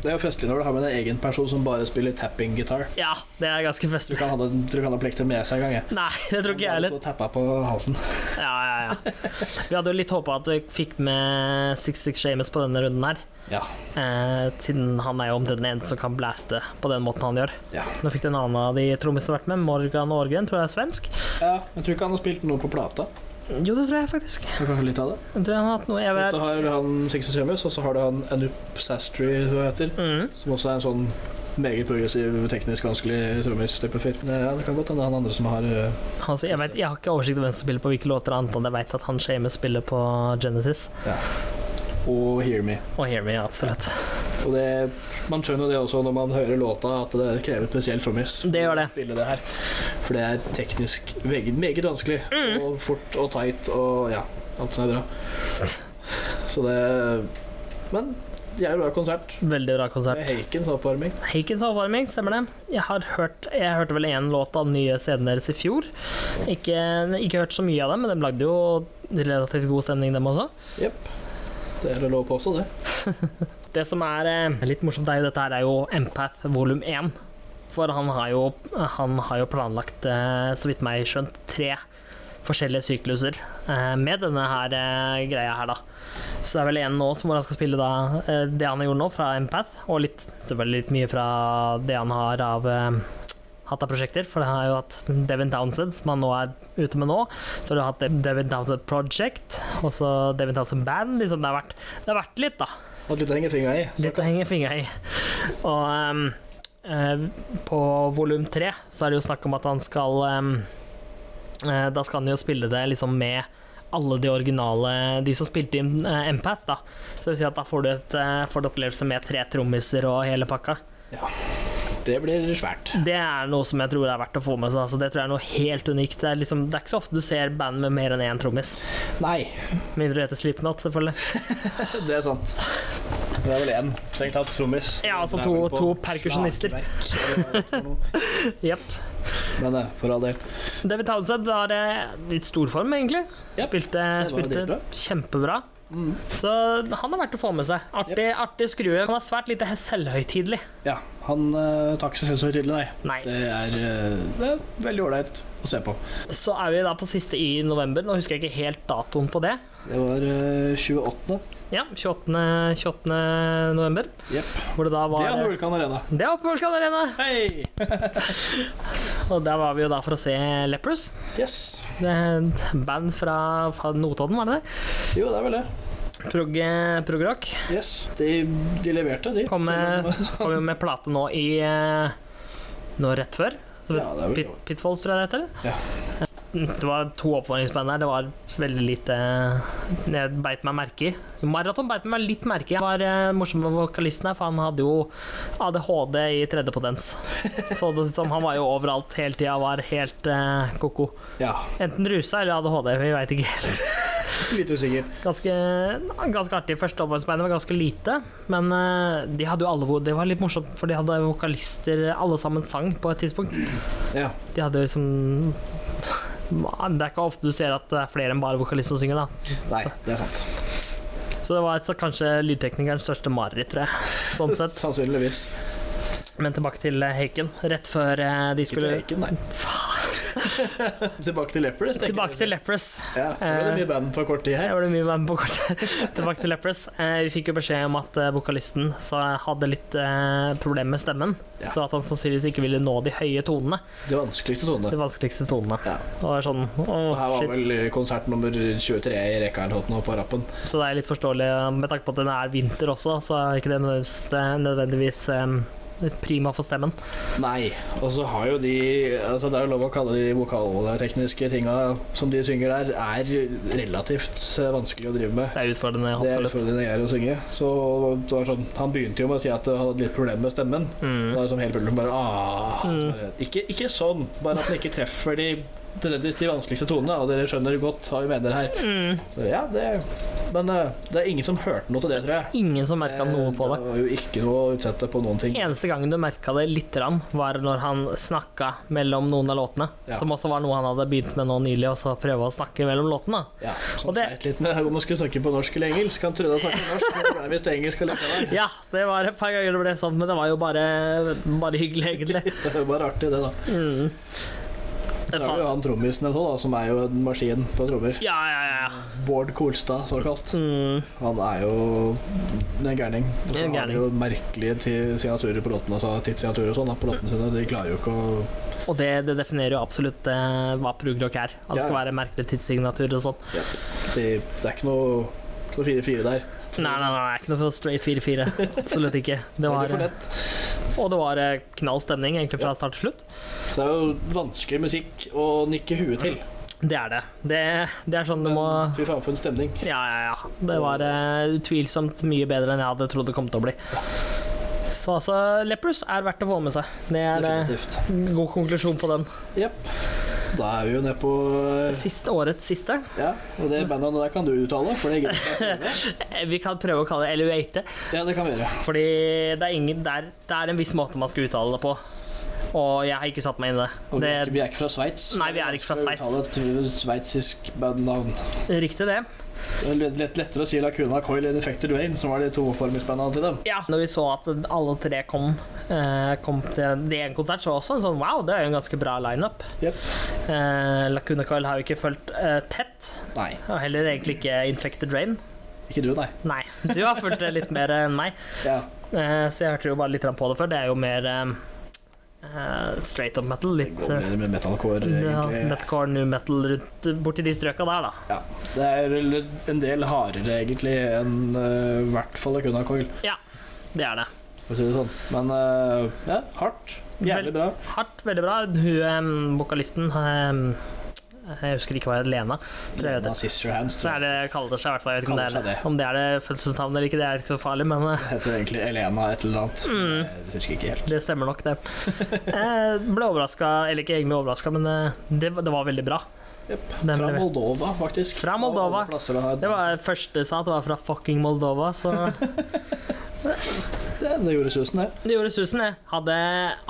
Speaker 2: Det er jo festlig når du har med en egen person som bare spiller tapping-gitar.
Speaker 1: Ja, det er ganske
Speaker 2: Tror
Speaker 1: festlig.
Speaker 2: ikke han hadde, tror ikke han hadde plekter med seg engang. jeg.
Speaker 1: Nei, det tror ikke jeg
Speaker 2: Han
Speaker 1: heller.
Speaker 2: sto og tappa på halsen.
Speaker 1: Ja, ja, ja. Vi hadde jo litt håpa at vi fikk med Six Six Shames på denne runden her.
Speaker 2: Ja.
Speaker 1: Eh, siden han er jo omtrent den eneste som kan blaste på den måten han gjør.
Speaker 2: ja.
Speaker 1: Nå fikk det en annen av de trommisene vært med, Morgan Aargren, tror jeg er svensk.
Speaker 2: ja. Jeg tror ikke han har spilt noe på plata.
Speaker 1: Jo, det tror jeg faktisk.
Speaker 2: Det er Kanskje litt av det.
Speaker 1: Jeg tror han har hatt noe jeg
Speaker 2: Så
Speaker 1: vet.
Speaker 2: du har han Sixten Semus, og så har du han Anup Sastry, som han heter.
Speaker 1: Mm.
Speaker 2: Som også er en sånn meget progressiv, teknisk vanskelig trommis-type fyr. Men ja, det kan godt hende han andre som har eh,
Speaker 1: Altså, jeg, vet, jeg har ikke oversikt over hvem som spiller på hvilke låter, annet enn jeg vet at han Shames spiller på Genesis.
Speaker 2: Ja. Og Hear Me.
Speaker 1: Og Hear Me, absolutt.
Speaker 2: Og det, man skjønner jo det også når man hører låta, at det krever et spesielt trommis.
Speaker 1: Det gjør det.
Speaker 2: å Spille det her. For det er teknisk meget, meget vanskelig.
Speaker 1: Mm.
Speaker 2: Og fort og tight og ja, alt som er bra. Så det Men jævlig bra konsert.
Speaker 1: Veldig bra konsert.
Speaker 2: Med Haikens oppvarming.
Speaker 1: Hakens avvarming, stemmer det. Jeg har hørt Jeg hørte vel én låt av den nye CD-en deres i fjor. Ikke, ikke hørt så mye av dem, men de lagde jo relativt god stemning, dem også.
Speaker 2: Jepp. Det er det lov å påstå, det.
Speaker 1: Det som er eh, litt morsomt, er jo dette her er jo Empath volum 1. For han har jo, han har jo planlagt, eh, så vidt meg skjønt, tre forskjellige sykluser eh, med denne her eh, greia her, da. Så det er vel en nå som hvor han skal spille da eh, det han har gjort nå, fra Empath, og litt, selvfølgelig litt mye fra det han har av eh, hatt av prosjekter, for han har jo hatt Devin Townsend, som han nå er ute med nå. Så har du hatt Devin Townsend Project, og så Devin Townsend Band. Liksom, det, har vært, det har vært litt, da.
Speaker 2: At litt henger fingra i. Så
Speaker 1: Litt å henge fingra i. Og ehm, eh, på volum tre så er det jo snakk om at han skal ehm, eh, Da skal han jo spille det liksom med alle de originale De som spilte inn eh, Empath, da. Så det vil si at da får du et, eh, får du opplevelse med tre trommiser og hele pakka.
Speaker 2: det blir svært.
Speaker 1: Det er noe som jeg tror er verdt å få med seg. Altså, det tror jeg er noe helt unikt. Det er, liksom, det er ikke så ofte du ser band med mer enn én trommis.
Speaker 2: Nei,
Speaker 1: Mindre du heter Slipknot, selvfølgelig.
Speaker 2: det er sant. Det er vel én strengt tatt trommis.
Speaker 1: Ja, altså
Speaker 2: Det er
Speaker 1: to-
Speaker 2: vel på
Speaker 1: to perkusjonister.
Speaker 2: slagverk, eller hva det heter for noe.
Speaker 1: Jepp.
Speaker 2: Men eh, for all del.
Speaker 1: David Townsend var eh, litt stor form, egentlig.
Speaker 2: Ja,
Speaker 1: spilte
Speaker 2: det var
Speaker 1: spilte
Speaker 2: dritbra.
Speaker 1: kjempebra.
Speaker 2: Mm.
Speaker 1: Så han er verdt å få med seg. Artig, artig skrue. Han er svært lite selvhøytidelig.
Speaker 2: Ja, han uh, tar ikke seg selv så høytidelig, nei.
Speaker 1: Nei.
Speaker 2: Det er, eh, det er veldig ålreit å se på.
Speaker 1: Så er vi da på siste i november. Nå husker jeg ikke helt datoen på det.
Speaker 2: Det var eh, 28.
Speaker 1: Ja, 28. 28. november.
Speaker 2: Jepp.
Speaker 1: Hvor det da
Speaker 2: Det er
Speaker 1: var eh,
Speaker 2: Vulkan Arena.
Speaker 1: Det er oppe på Vulkan Arena!
Speaker 2: Hei!
Speaker 1: Og der var vi jo da for å se Lepros.
Speaker 2: Yes.
Speaker 1: Det er et Band fra, fra Notodden, var det det?
Speaker 2: Jo, det er vel det.
Speaker 1: Prog, progrock.
Speaker 2: Yes. De, de leverte, de.
Speaker 1: Kom med,
Speaker 2: Selv om, eh,
Speaker 1: kom jo med plate nå i eh, Nå rett før. Så
Speaker 2: Ja, det er vel
Speaker 1: Pit, Pitfalls, tror jeg det heter.
Speaker 2: Ja.
Speaker 1: Det var to oppvarmingsband der. Det var veldig lite Jeg beit meg merke i. Maraton beit meg litt merke i. Han var eh, morsom med vokalisten her, for han hadde jo ADHD i tredje potens. Så det ut som han var jo overalt hele tida, var helt eh, ko-ko.
Speaker 2: Ja,
Speaker 1: Enten rusa eller ADHD, vi veit ikke helt.
Speaker 2: litt usikker.
Speaker 1: Ganske, ganske artig. Første oppvarmingsbandet var ganske lite, men eh, de hadde jo alle vo- Det var litt morsomt, for de hadde vokalister Alle sammen sang på et tidspunkt.
Speaker 2: Ja.
Speaker 1: De hadde jo liksom Det er ikke ofte du ser at det er flere enn bare vokalisten som synger, da.
Speaker 2: Nei, det er sant.
Speaker 1: Så det var et, så kanskje lydteknikerens største mareritt, tror jeg. Sånn sett.
Speaker 2: Sannsynligvis.
Speaker 1: Men tilbake til eh, Haken. Rett før eh, de
Speaker 2: Ikke til
Speaker 1: skulle
Speaker 2: Aiken, nei. Tilbake til Leopard.
Speaker 1: Tilbake til Eh. Lepros.
Speaker 2: Ja, det ble det mye band for kort tid
Speaker 1: Det
Speaker 2: her.
Speaker 1: var det mye med på kortet. Tilbake til Lepros. Eh, vi fikk jo beskjed om at eh, vokalisten sa- hadde litt eh, problemer med stemmen,
Speaker 2: Ja.
Speaker 1: så at han sannsynligvis ikke ville nå de høye tonene.
Speaker 2: De vanskeligste sonene.
Speaker 1: De vanskeligste tonene.
Speaker 2: Ja.
Speaker 1: Det var sånn,
Speaker 2: Og Her
Speaker 1: åh,
Speaker 2: var
Speaker 1: shit.
Speaker 2: vel konsert nummer 23 i rekka eller noe sånt nå på rappen.
Speaker 1: Så det er litt forståelig eh, med tanke på at den er vinter også, så er ikke det nødvendigvis, nødvendigvis eh, litt prima for stemmen.
Speaker 2: Nei. Og så har jo de altså Det er jo lov å kalle de vokaltekniske tinga som de synger der, er relativt eh, vanskelig å drive med.
Speaker 1: Det er utfordrende,
Speaker 2: Det er
Speaker 1: absolutt.
Speaker 2: utfordrende jeg er å synge. Så det var sånn, Han begynte jo med å si at han hadde litt problemer med stemmen. Og
Speaker 1: Mm.
Speaker 2: da er det sånn hele publikum bare ah,
Speaker 1: Mm.
Speaker 2: så bare, ikke, ikke sånn, bare at den ikke treffer de nødvendigvis de vanskeligste tonene. Og dere skjønner godt hva vi mener her.
Speaker 1: Mm.
Speaker 2: Så, ja, det, men eh, det er ingen som hørte noe til det, tror jeg. Eh,
Speaker 1: Ingen som merka noe på det.
Speaker 2: Det var jo ikke noe å utsette på noen ting.
Speaker 1: Eneste gangen du merka det litt, rann, var når han snakka mellom noen av låtene.
Speaker 2: Ja.
Speaker 1: Som også var noe han hadde begynt med nå nylig, og så prøve å snakke mellom låtene.
Speaker 2: Ja,
Speaker 1: Og
Speaker 2: som
Speaker 1: det-
Speaker 2: sleit litt med om man skulle snakke på norsk eller engelsk. Han trodde han snakket norsk, men det ble visst engelsk allikevel.
Speaker 1: Ja, det var et par ganger det ble sånn, men det var jo bare, bare hyggelig, egentlig.
Speaker 2: Det er jo bare artig, det, da.
Speaker 1: Mm.
Speaker 2: Så er det jo han trommisen og sånn, da, som er jo en maskin på trommer.
Speaker 1: Ja, ja, ja.
Speaker 2: Bård Kolstad, såkalt.
Speaker 1: Mm.
Speaker 2: Han er jo en gærning. Og så
Speaker 1: En
Speaker 2: har
Speaker 1: gærning.
Speaker 2: de jo merkelige ti- signaturer på låtene, altså tidssignaturer og sånn da, på låtene sine. De klarer jo ikke å
Speaker 1: Og det, det definerer jo absolutt eh, hva progrock er. At det skal
Speaker 2: Ja.
Speaker 1: være merkelige tidssignatur og sånn.
Speaker 2: de, Det er ikke noe ikke noe 4-4 der.
Speaker 1: Nei, nei, nei, nei, ikke noe for straight 4-4. Absolutt ikke. Det var,
Speaker 2: Veldig for lett.
Speaker 1: og det var eh, knall stemning, egentlig,
Speaker 2: Ja.
Speaker 1: fra start til slutt.
Speaker 2: Så det er jo vanskelig musikk å nikke huet til.
Speaker 1: Det er det. Det, det er sånn du
Speaker 2: Men
Speaker 1: må
Speaker 2: fy faen for en stemning.
Speaker 1: Ja, ja, ja. Det var eh, utvilsomt mye bedre enn jeg hadde trodd det kom til å bli. Så altså, Lepros er verdt å få med seg. Det er eh,
Speaker 2: Definitivt.
Speaker 1: god konklusjon på den.
Speaker 2: Jepp. Da er vi jo nede på eh,
Speaker 1: Siste årets siste.
Speaker 2: Ja, og det bandnavnet der kan du uttale, for det gidder jeg ikke.
Speaker 1: Eh, Vi kan prøve å kalle det Eluate,
Speaker 2: Ja, det kan vi gjøre.
Speaker 1: fordi det er, ingen, det, er, det er en viss måte man skal uttale det på. Og jeg har ikke satt meg inn i
Speaker 2: Og vi
Speaker 1: det.
Speaker 2: er ikke- vi er ikke fra Sveits.
Speaker 1: Nei, vi er ikke fra
Speaker 2: Skal
Speaker 1: Sveits.
Speaker 2: uttale et Sveitsisk bandnavn.
Speaker 1: Det er riktig, det.
Speaker 2: Det er lett- lett- lettere å si Lacuna Coil enn Effected Rain, som var de to oppvarmingsbandene til dem.
Speaker 1: Ja. Når vi så at alle tre kom, eh, kom til det en konsert, så var det også en sånn wow, det er jo en ganske bra lineup.
Speaker 2: Jep.
Speaker 1: Eh, Lacuna Coil har jo ikke fulgt eh, tett,
Speaker 2: Nei,
Speaker 1: og heller egentlig ikke Infected Rain.
Speaker 2: ikke du, nei.
Speaker 1: Nei, du har fulgt det litt mer enn meg,
Speaker 2: Ja.
Speaker 1: eh, så jeg hørte jo bare litt grann på det før. Det er jo mer eh, eh, straight up metal.
Speaker 2: Det
Speaker 1: Litt
Speaker 2: går
Speaker 1: eh,
Speaker 2: mer med metalcore,
Speaker 1: ja,
Speaker 2: egentlig.
Speaker 1: metalcore, new metal rundt borti de strøka der, da.
Speaker 2: Ja. Det er vel en del hardere, egentlig, enn eh, i hvert fall Lacuna Coil,
Speaker 1: Ja, det er det.
Speaker 2: for å si det sånn. Men eh, ja, hardt. Jævlig bra.
Speaker 1: Hardt, veldig bra. Hun eh, vokalisten eh, Jeg husker ikke hva hun het, Lena. Tror jeg det.
Speaker 2: Lena Sister Hands,
Speaker 1: Så er
Speaker 2: tror jeg.
Speaker 1: det kaller det seg, i hvert fall. Jeg vet ikke om det
Speaker 2: Kaller
Speaker 1: er
Speaker 2: seg
Speaker 1: det.
Speaker 2: det.
Speaker 1: Om det er det fødselsnavnet eller ikke, det er ikke så farlig, men eh,
Speaker 2: Heter egentlig Elena et eller annet.
Speaker 1: Mm.
Speaker 2: Jeg husker ikke helt.
Speaker 1: Det stemmer nok, det. Jeg ble overraska, eller ikke egentlig overraska, men eh, det, det var veldig bra.
Speaker 2: Jep.
Speaker 1: Den
Speaker 2: Fra
Speaker 1: ble-
Speaker 2: Moldova, faktisk.
Speaker 1: Fra Moldova.
Speaker 2: Av alle plasser å ha-
Speaker 1: Det var det første jeg sa, at det var fra fucking Moldova, så
Speaker 2: det, det gjorde susen, det.
Speaker 1: det gjorde susen, det. Hadde,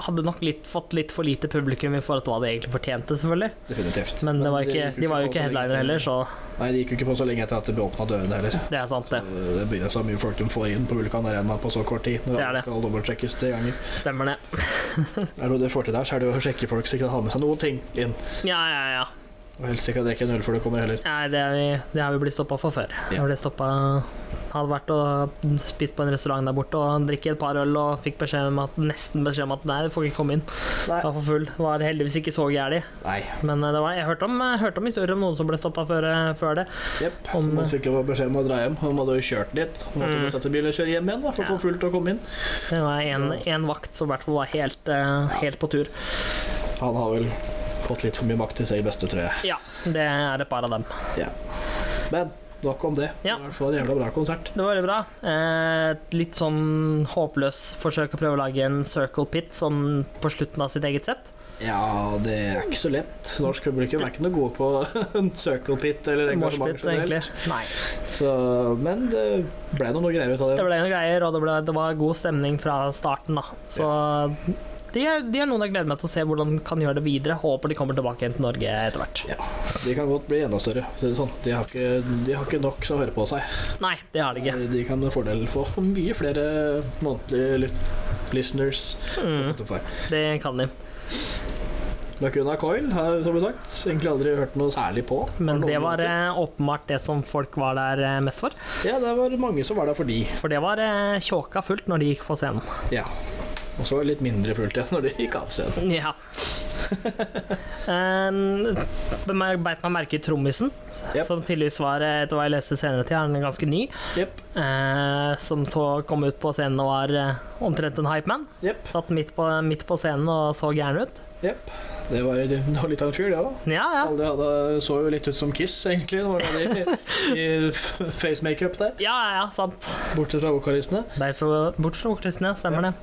Speaker 1: hadde nok litt, fått litt for lite publikum i forhold til hva det egentlig fortjente, selvfølgelig.
Speaker 2: Definitivt.
Speaker 1: Men det var
Speaker 2: det
Speaker 1: ikke,
Speaker 2: gikk jo
Speaker 1: de var jo
Speaker 2: på så
Speaker 1: ikke
Speaker 2: lenge
Speaker 1: headliner
Speaker 2: etter-
Speaker 1: heller, så
Speaker 2: Nei, det gikk jo ikke på så lenge etter at de åpna dørene heller.
Speaker 1: det er sant, det.
Speaker 2: Det begynner så mye folk de får inn på Vulkan Arena på så kort tid. Når
Speaker 1: Det
Speaker 2: det
Speaker 1: er det.
Speaker 2: skal dobbeltsjekkes tre ganger.
Speaker 1: Stemmer det.
Speaker 2: Er det noe de får til der, så er det jo å sjekke folk så ikke de har med seg noen ting inn.
Speaker 1: Ja, ja, ja.
Speaker 2: Og helst ikke drikke en øl før du kommer heller.
Speaker 1: Nei, det, er vi, det har vi blitt stoppa for før.
Speaker 2: Ja.
Speaker 1: Jeg ble stoppet, hadde vært og spist på en restaurant der borte og drikket et par øl og fikk beskjed om at, nesten beskjed om at nei, du får ikke komme inn.
Speaker 2: Nei.
Speaker 1: Var for full. Var heldigvis ikke så gæli.
Speaker 2: Nei.
Speaker 1: Men eh, det var, jeg hørte om, eh, hørte om historier om noen som ble stoppa før, eh, før det.
Speaker 2: Jepp. Så
Speaker 1: Om-
Speaker 2: man fikk lov å beskjed om å dra hjem. Og man hadde jo kjørt litt. Og måtte
Speaker 1: Mm.
Speaker 2: mm. sette bilen og kjøre hjem igjen da, for å
Speaker 1: Ja.
Speaker 2: få fullt å komme inn.
Speaker 1: Det var en, en vakt som i hvert fall var helt, eh, helt på tur.
Speaker 2: Han har vel fått litt for mye makt til seg i beste, tror jeg.
Speaker 1: Ja, det er et par av dem.
Speaker 2: Men nok om det.
Speaker 1: Ja.
Speaker 2: Det var i hvert fall en jævla bra konsert.
Speaker 1: Det var veldig bra. Eh, et litt sånn håpløs forsøk å prøve å lage en circle pit sånn på slutten av sitt eget sett.
Speaker 2: Ja, det er ikke så lett. Norsk publikum er ikke noe gode på en circle pit eller engasjement
Speaker 1: Moshpit,
Speaker 2: generelt.
Speaker 1: egentlig. Nei.
Speaker 2: Så, men det ble nå noe greier ut av
Speaker 1: Det
Speaker 2: det.
Speaker 1: ble noen greier, og det, ble, det var god stemning fra starten, da. Så de er, de er noen jeg gleder meg til å se hvordan de kan gjøre det videre. Håper de kommer tilbake igjen til Norge etter hvert.
Speaker 2: De kan godt bli enda større. for å si det sånn. de, har ikke, de har ikke nok som hører på seg.
Speaker 1: Nei, det har de ikke.
Speaker 2: De kan med fordel få mye flere månedlige lyt- listeners.
Speaker 1: Mm,
Speaker 2: Spotify.
Speaker 1: det kan de.
Speaker 2: Lacuna Coil har jeg, som sagt egentlig aldri hørt noe særlig på.
Speaker 1: Men
Speaker 2: Har
Speaker 1: det
Speaker 2: noen
Speaker 1: var
Speaker 2: låter.
Speaker 1: eh, åpenbart det som folk var der eh, mest for.
Speaker 2: Ja, det var mange som var der for de.
Speaker 1: For det var eh, tjåka fullt når de gikk på scenen.
Speaker 2: Ja. Og så litt mindre fullt igjen når de gikk av scenen.
Speaker 1: Ja. Um, bemer- Beit meg merke i trommisen,
Speaker 2: Yep.
Speaker 1: som tydeligvis var, eh, etter hva jeg leste senere til, er han ganske ny.
Speaker 2: Jepp.
Speaker 1: Eh, som så kom ut på scenen og var eh, omtrent en hypeman.
Speaker 2: Jepp.
Speaker 1: Satt midt på, midt på scenen og så gæren ut.
Speaker 2: Jepp. Det var, det var litt av en fyr, det, da.
Speaker 1: Ja, ja.
Speaker 2: Alle hadde, så jo litt ut som Kiss, egentlig. Det var jo de i face-makeup der.
Speaker 1: Ja, ja, ja, sant.
Speaker 2: Bortsett fra vokalistene.
Speaker 1: Beit fra- Bort fra vokalistene, stemmer det.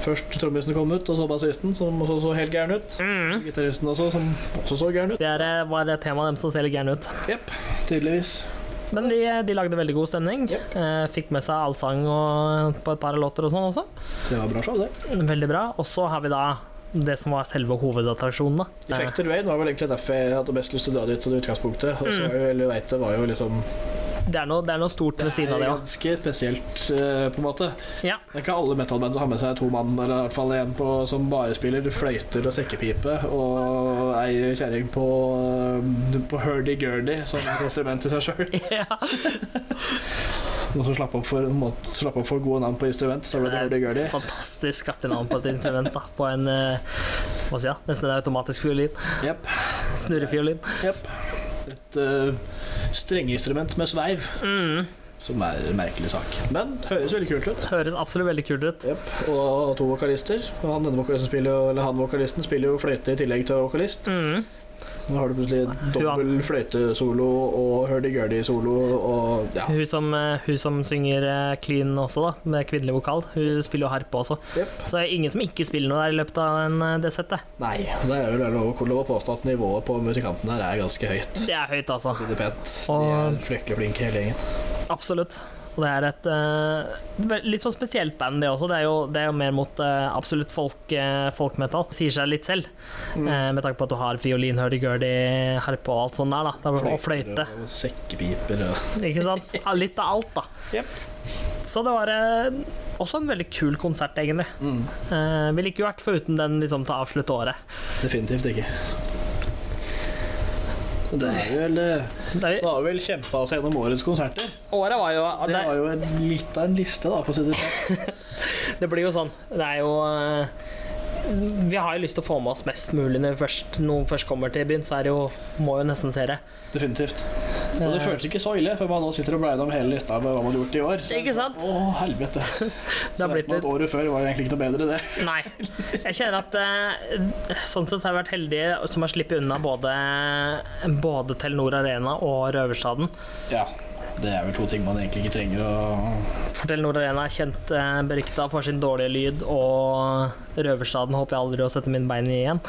Speaker 2: Først trommisen kom ut, og så bassisten, som også så helt gæren ut.
Speaker 1: Mm.
Speaker 2: Gitaristen også, som også så gæren ut.
Speaker 1: Det er, eh, var et tema dem som ser litt gæren ut.
Speaker 2: Jepp. Tydeligvis.
Speaker 1: Men de, de lagde veldig god stemning.
Speaker 2: Yep.
Speaker 1: Eh, fikk med seg allsang og, på et par låter og sånn også.
Speaker 2: Det var bra show, det.
Speaker 1: Veldig bra. Og så har vi da det som var selve hovedattraksjonen, da. Eh,
Speaker 2: Defected Rain var vel egentlig derfor jeg hadde mest lyst til å dra dit sånn i utgangspunktet. Og så
Speaker 1: Mm.
Speaker 2: var jo, eller vet det, var jo liksom
Speaker 1: Eh, Det er noe, det er noe stort ved siden av det òg.
Speaker 2: ganske spesielt, eh, på en måte.
Speaker 1: Ja.
Speaker 2: Det er ikke alle metalband som har med seg to mann, eller i hvert fall en på, som bare spiller fløyter og sekkepipe, og ei kjerring på, eh, på hurdy-gurdy som et instrument i seg sjøl.
Speaker 1: ja.
Speaker 2: Noen som slapp opp for, måtte slappe opp for gode navn på instrument, så ble det hurdy-gurdy.
Speaker 1: Fantastisk artig navn på et instrument. da På en eh, hva sier jeg, nesten en automatisk fiolin.
Speaker 2: Jepp.
Speaker 1: Snurrefiolin.
Speaker 2: Jepp. Et eh, strengeinstrument med sveiv,
Speaker 1: Mm.
Speaker 2: som er en merkelig sak. Men det høres veldig kult ut.
Speaker 1: Høres absolutt veldig kult ut.
Speaker 2: Jepp. Og to vokalister. Og han, denne vokalisten spiller jo, eller han vokalisten spiller jo fløyte i tillegg til vokalist.
Speaker 1: Mm.
Speaker 2: Så nå har du plutselig dobbel fløytesolo og hurdy-gurdy-solo og ja.
Speaker 1: Hun, som, eh, hun som synger eh, clean også, da med kvinnelig vokal, hun spiller jo harpe også.
Speaker 2: Jepp.
Speaker 1: Så det er ingen som ikke spiller noe der i løpet av en, eh, det settet.
Speaker 2: Nei, det er vel lov, lov å påstå at nivået på musikantene her er ganske høyt.
Speaker 1: Det er høyt, altså.
Speaker 2: Så det er pent. De er
Speaker 1: Og-
Speaker 2: fryktelig flinke hele gjengen.
Speaker 1: Absolutt. Og det er et eh, vel- litt sånn spesielt band, det også. Det er jo, det er jo mer mot eh, absolutt folk, eh, folkmetal. Sier seg litt selv, eh, med tanke på at du har fiolin, hurdy-gurdy, harpe og alt sånt der, da. Det er- Og fløyte.
Speaker 2: Fløyter Og sekkepiper og
Speaker 1: Ikke sant? Ja, Litt av alt, da.
Speaker 2: Jep.
Speaker 1: Så det var eh, også en veldig kul konsert, egentlig.
Speaker 2: mm.
Speaker 1: Eh, ville ikke vært foruten den liksom, til å avslutte året.
Speaker 2: Definitivt ikke. Og Det er vel eh,
Speaker 1: Det,
Speaker 2: Det har vel kjempa oss gjennom årets konserter.
Speaker 1: året var jo
Speaker 2: Det
Speaker 1: det,
Speaker 2: var jo en, litt av en liste, da, for å si det sånn.
Speaker 1: det blir jo sånn. Det er jo eh, Vi har jo lyst til å få med oss mest mulig når vi først, noen først kommer til byen, så er det jo Må jo nesten se det.
Speaker 2: Definitivt. Og det
Speaker 1: Eh,
Speaker 2: føles ikke så ille, for man nå sitter og blar gjennom hele lista med hva man har gjort i år.
Speaker 1: Ikke sant?
Speaker 2: sånn, Å, helvete.
Speaker 1: Det
Speaker 2: Så
Speaker 1: har blitt
Speaker 2: at
Speaker 1: litt
Speaker 2: Året før var jo egentlig ikke noe bedre, det.
Speaker 1: Eh, Nei. Jeg kjenner at eh, sånn sett har jeg vært heldig som har sluppet unna både, både Telenor Arena og Røverstaden.
Speaker 2: Ja, det er vel to ting man egentlig ikke trenger å
Speaker 1: For Telenor Arena er kjent eh, berykta for sin dårlige lyd, og Røverstaden håper jeg aldri å sette mine bein i igjen.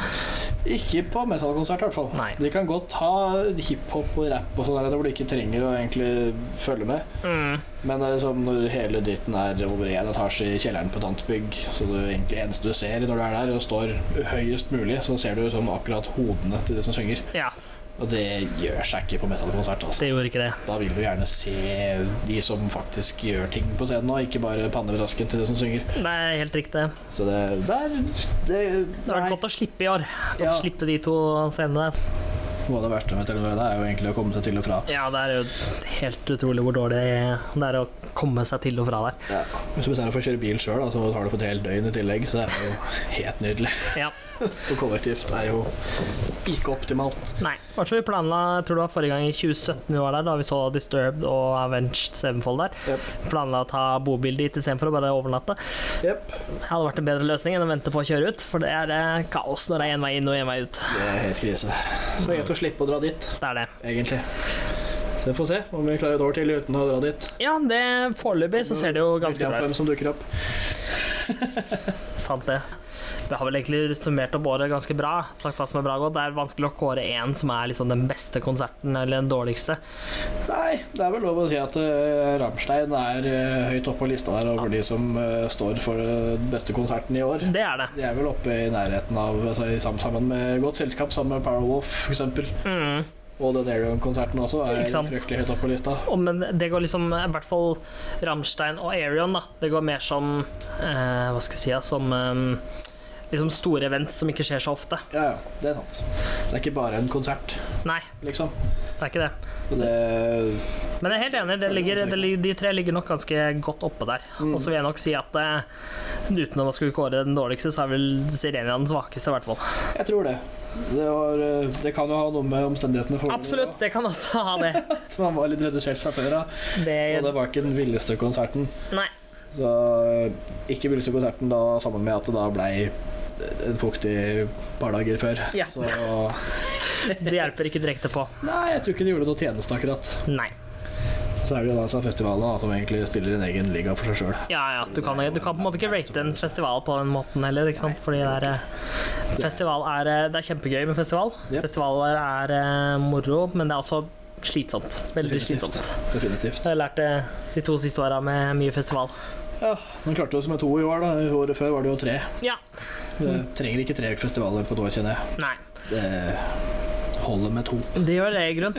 Speaker 2: Ikke på metallkonsert, i hvert fall.
Speaker 1: Nei.
Speaker 2: De kan godt ha hiphop og rap og sånn der, hvor du ikke trenger å egentlig følge med.
Speaker 1: Mm,
Speaker 2: Men det er som når hele dritten er over én etasje i kjelleren på et annet bygg, så det egentlig eneste du ser når du er der og står høyest mulig, så ser du som akkurat hodene til de som synger.
Speaker 1: Ja,
Speaker 2: Og det gjør seg ikke på metallkonsert, altså.
Speaker 1: det gjorde ikke det.
Speaker 2: Da vil du gjerne se de som faktisk gjør ting på scenen, og ikke bare pannebrasken til de som synger.
Speaker 1: Det er helt riktig. Det
Speaker 2: Så det der Det,
Speaker 1: har
Speaker 2: nei.
Speaker 1: vært godt å slippe i år. Godt
Speaker 2: Ja.
Speaker 1: å slippe de to scenene der.
Speaker 2: Noe av det verste med Telenor Arena er jo egentlig å komme seg til og fra.
Speaker 1: Ja, det er jo helt utrolig hvor dårlig det er å komme seg til og fra der.
Speaker 2: Hvis du bestemmer deg for å kjøre bil sjøl, så tar du for et helt døgn i tillegg, så det er jo helt nydelig.
Speaker 1: Ja,
Speaker 2: Og kollektivt er jo ikke optimalt.
Speaker 1: nei. Hva så vi planla, jeg tror det var forrige gang i 2017 vi var der, da vi så Disturbed og Avenged Sevenfold der.
Speaker 2: Jep.
Speaker 1: Planla å ta bobil dit istedenfor å bare overnatte.
Speaker 2: Jep.
Speaker 1: Det hadde vært en bedre løsning enn å vente på å kjøre ut, for det er eh, kaos når det er én vei inn og én vei ut.
Speaker 2: Det er helt krise. Så greit å slippe å dra dit,
Speaker 1: Det er det.
Speaker 2: egentlig. Så vi får se om vi klarer et år til uten å dra dit.
Speaker 1: Ja, det foreløpig så ser det jo ganske
Speaker 2: Vilja på
Speaker 1: bra ut.
Speaker 2: Hvem som dukker opp.
Speaker 1: Sant det. Vi har vel egentlig summert opp året ganske bra. Sagt hva som er bra og godt. Det er vanskelig å kåre én som er liksom den beste konserten, eller den dårligste.
Speaker 2: Nei, det er vel lov å si at uh, Rammstein er eh, høyt oppe på lista der over de som eh, står for eh, den beste konserten i år.
Speaker 1: Det er det.
Speaker 2: De er vel oppe i nærheten av altså, i sam sammen med Godt Selskap, sammen med Powerwolf f.eks.
Speaker 1: Mm.
Speaker 2: Og den Aerion-konserten også er
Speaker 1: Ikke sant?
Speaker 2: fryktelig høyt oppe på lista.
Speaker 1: Og, men det går liksom I hvert fall Rammstein og Arion, da. Det går mer som eh, Hva skal jeg si, ja, som eh, liksom store events som ikke skjer så ofte.
Speaker 2: Ja, ja, det er sant. Det er ikke bare en konsert,
Speaker 1: Nei,
Speaker 2: liksom.
Speaker 1: det er ikke det.
Speaker 2: Og det
Speaker 1: Men jeg er helt enig, det ligger, det, ligger- de tre ligger nok ganske godt oppe der.
Speaker 2: Mm.
Speaker 1: Og så vil jeg nok si at eh, uten å skulle kåre den dårligste, så er vel Sirenia den svakeste, i hvert fall.
Speaker 2: Jeg tror det. Det, var, eh, det kan jo ha noe med omstendighetene for
Speaker 1: Absolutt, det kan også ha det.
Speaker 2: At man var litt redusert fra før av.
Speaker 1: det
Speaker 2: Og det var ikke den villeste konserten.
Speaker 1: nei.
Speaker 2: Så eh, ikke villeste konserten da sammen med at det da blei en fuktig par dager før.
Speaker 1: Ja.
Speaker 2: Så
Speaker 1: Det hjelper ikke direkte på.
Speaker 2: Nei, jeg tror ikke det gjorde noe tjeneste, akkurat.
Speaker 1: Nei.
Speaker 2: Så er det jo da sånn festivalen da, som egentlig stiller en egen liga for seg sjøl.
Speaker 1: Ja, ja, du kan, du kan på en måte ikke rate en festival på den måten heller, ikke sant? Fordi det er, eh, festival er eh, Det er kjempegøy med festival.
Speaker 2: Yep.
Speaker 1: Festivaler er eh, moro, men det er også slitsomt. Veldig
Speaker 2: Definitivt.
Speaker 1: slitsomt.
Speaker 2: Definitivt.
Speaker 1: Jeg har lært det de to siste åra med mye festival.
Speaker 2: Ja, Den klarte oss med to i år. da Året før var det jo tre.
Speaker 1: Ja.
Speaker 2: Det trenger ikke tre festivaler på et år, kjenner jeg.
Speaker 1: Nei.
Speaker 2: Det holder med to.
Speaker 1: Det gjør det i grunn.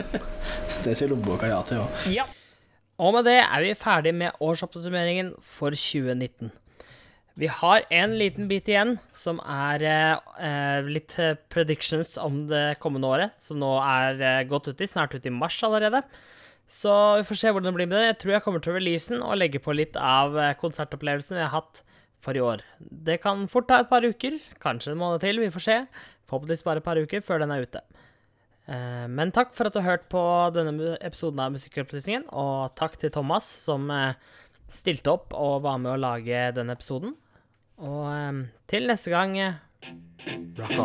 Speaker 2: Det sier lommeboka ja til òg.
Speaker 1: Ja. Og med det er vi ferdig med årsoppsummeringen for 2019. Vi har en liten bit igjen, som er eh, litt eh, predictions om det kommende året, som nå er eh, godt uti, snart uti mars allerede. Så vi får se hvordan det blir med det. Jeg tror jeg kommer til å release den og legge på litt av eh, konsertopplevelsen vi har hatt for i år. Det kan fort ta et par uker, kanskje en måned til, vi får se. Forhåpentligvis bare et par uker før den er ute. Eh, Men takk for at du har hørt på denne mu- episoden av Musikkopplysningen, og takk til Thomas som eh, stilte opp og var med å lage denne episoden. Og eh, til neste gang eh, Rock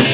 Speaker 1: on.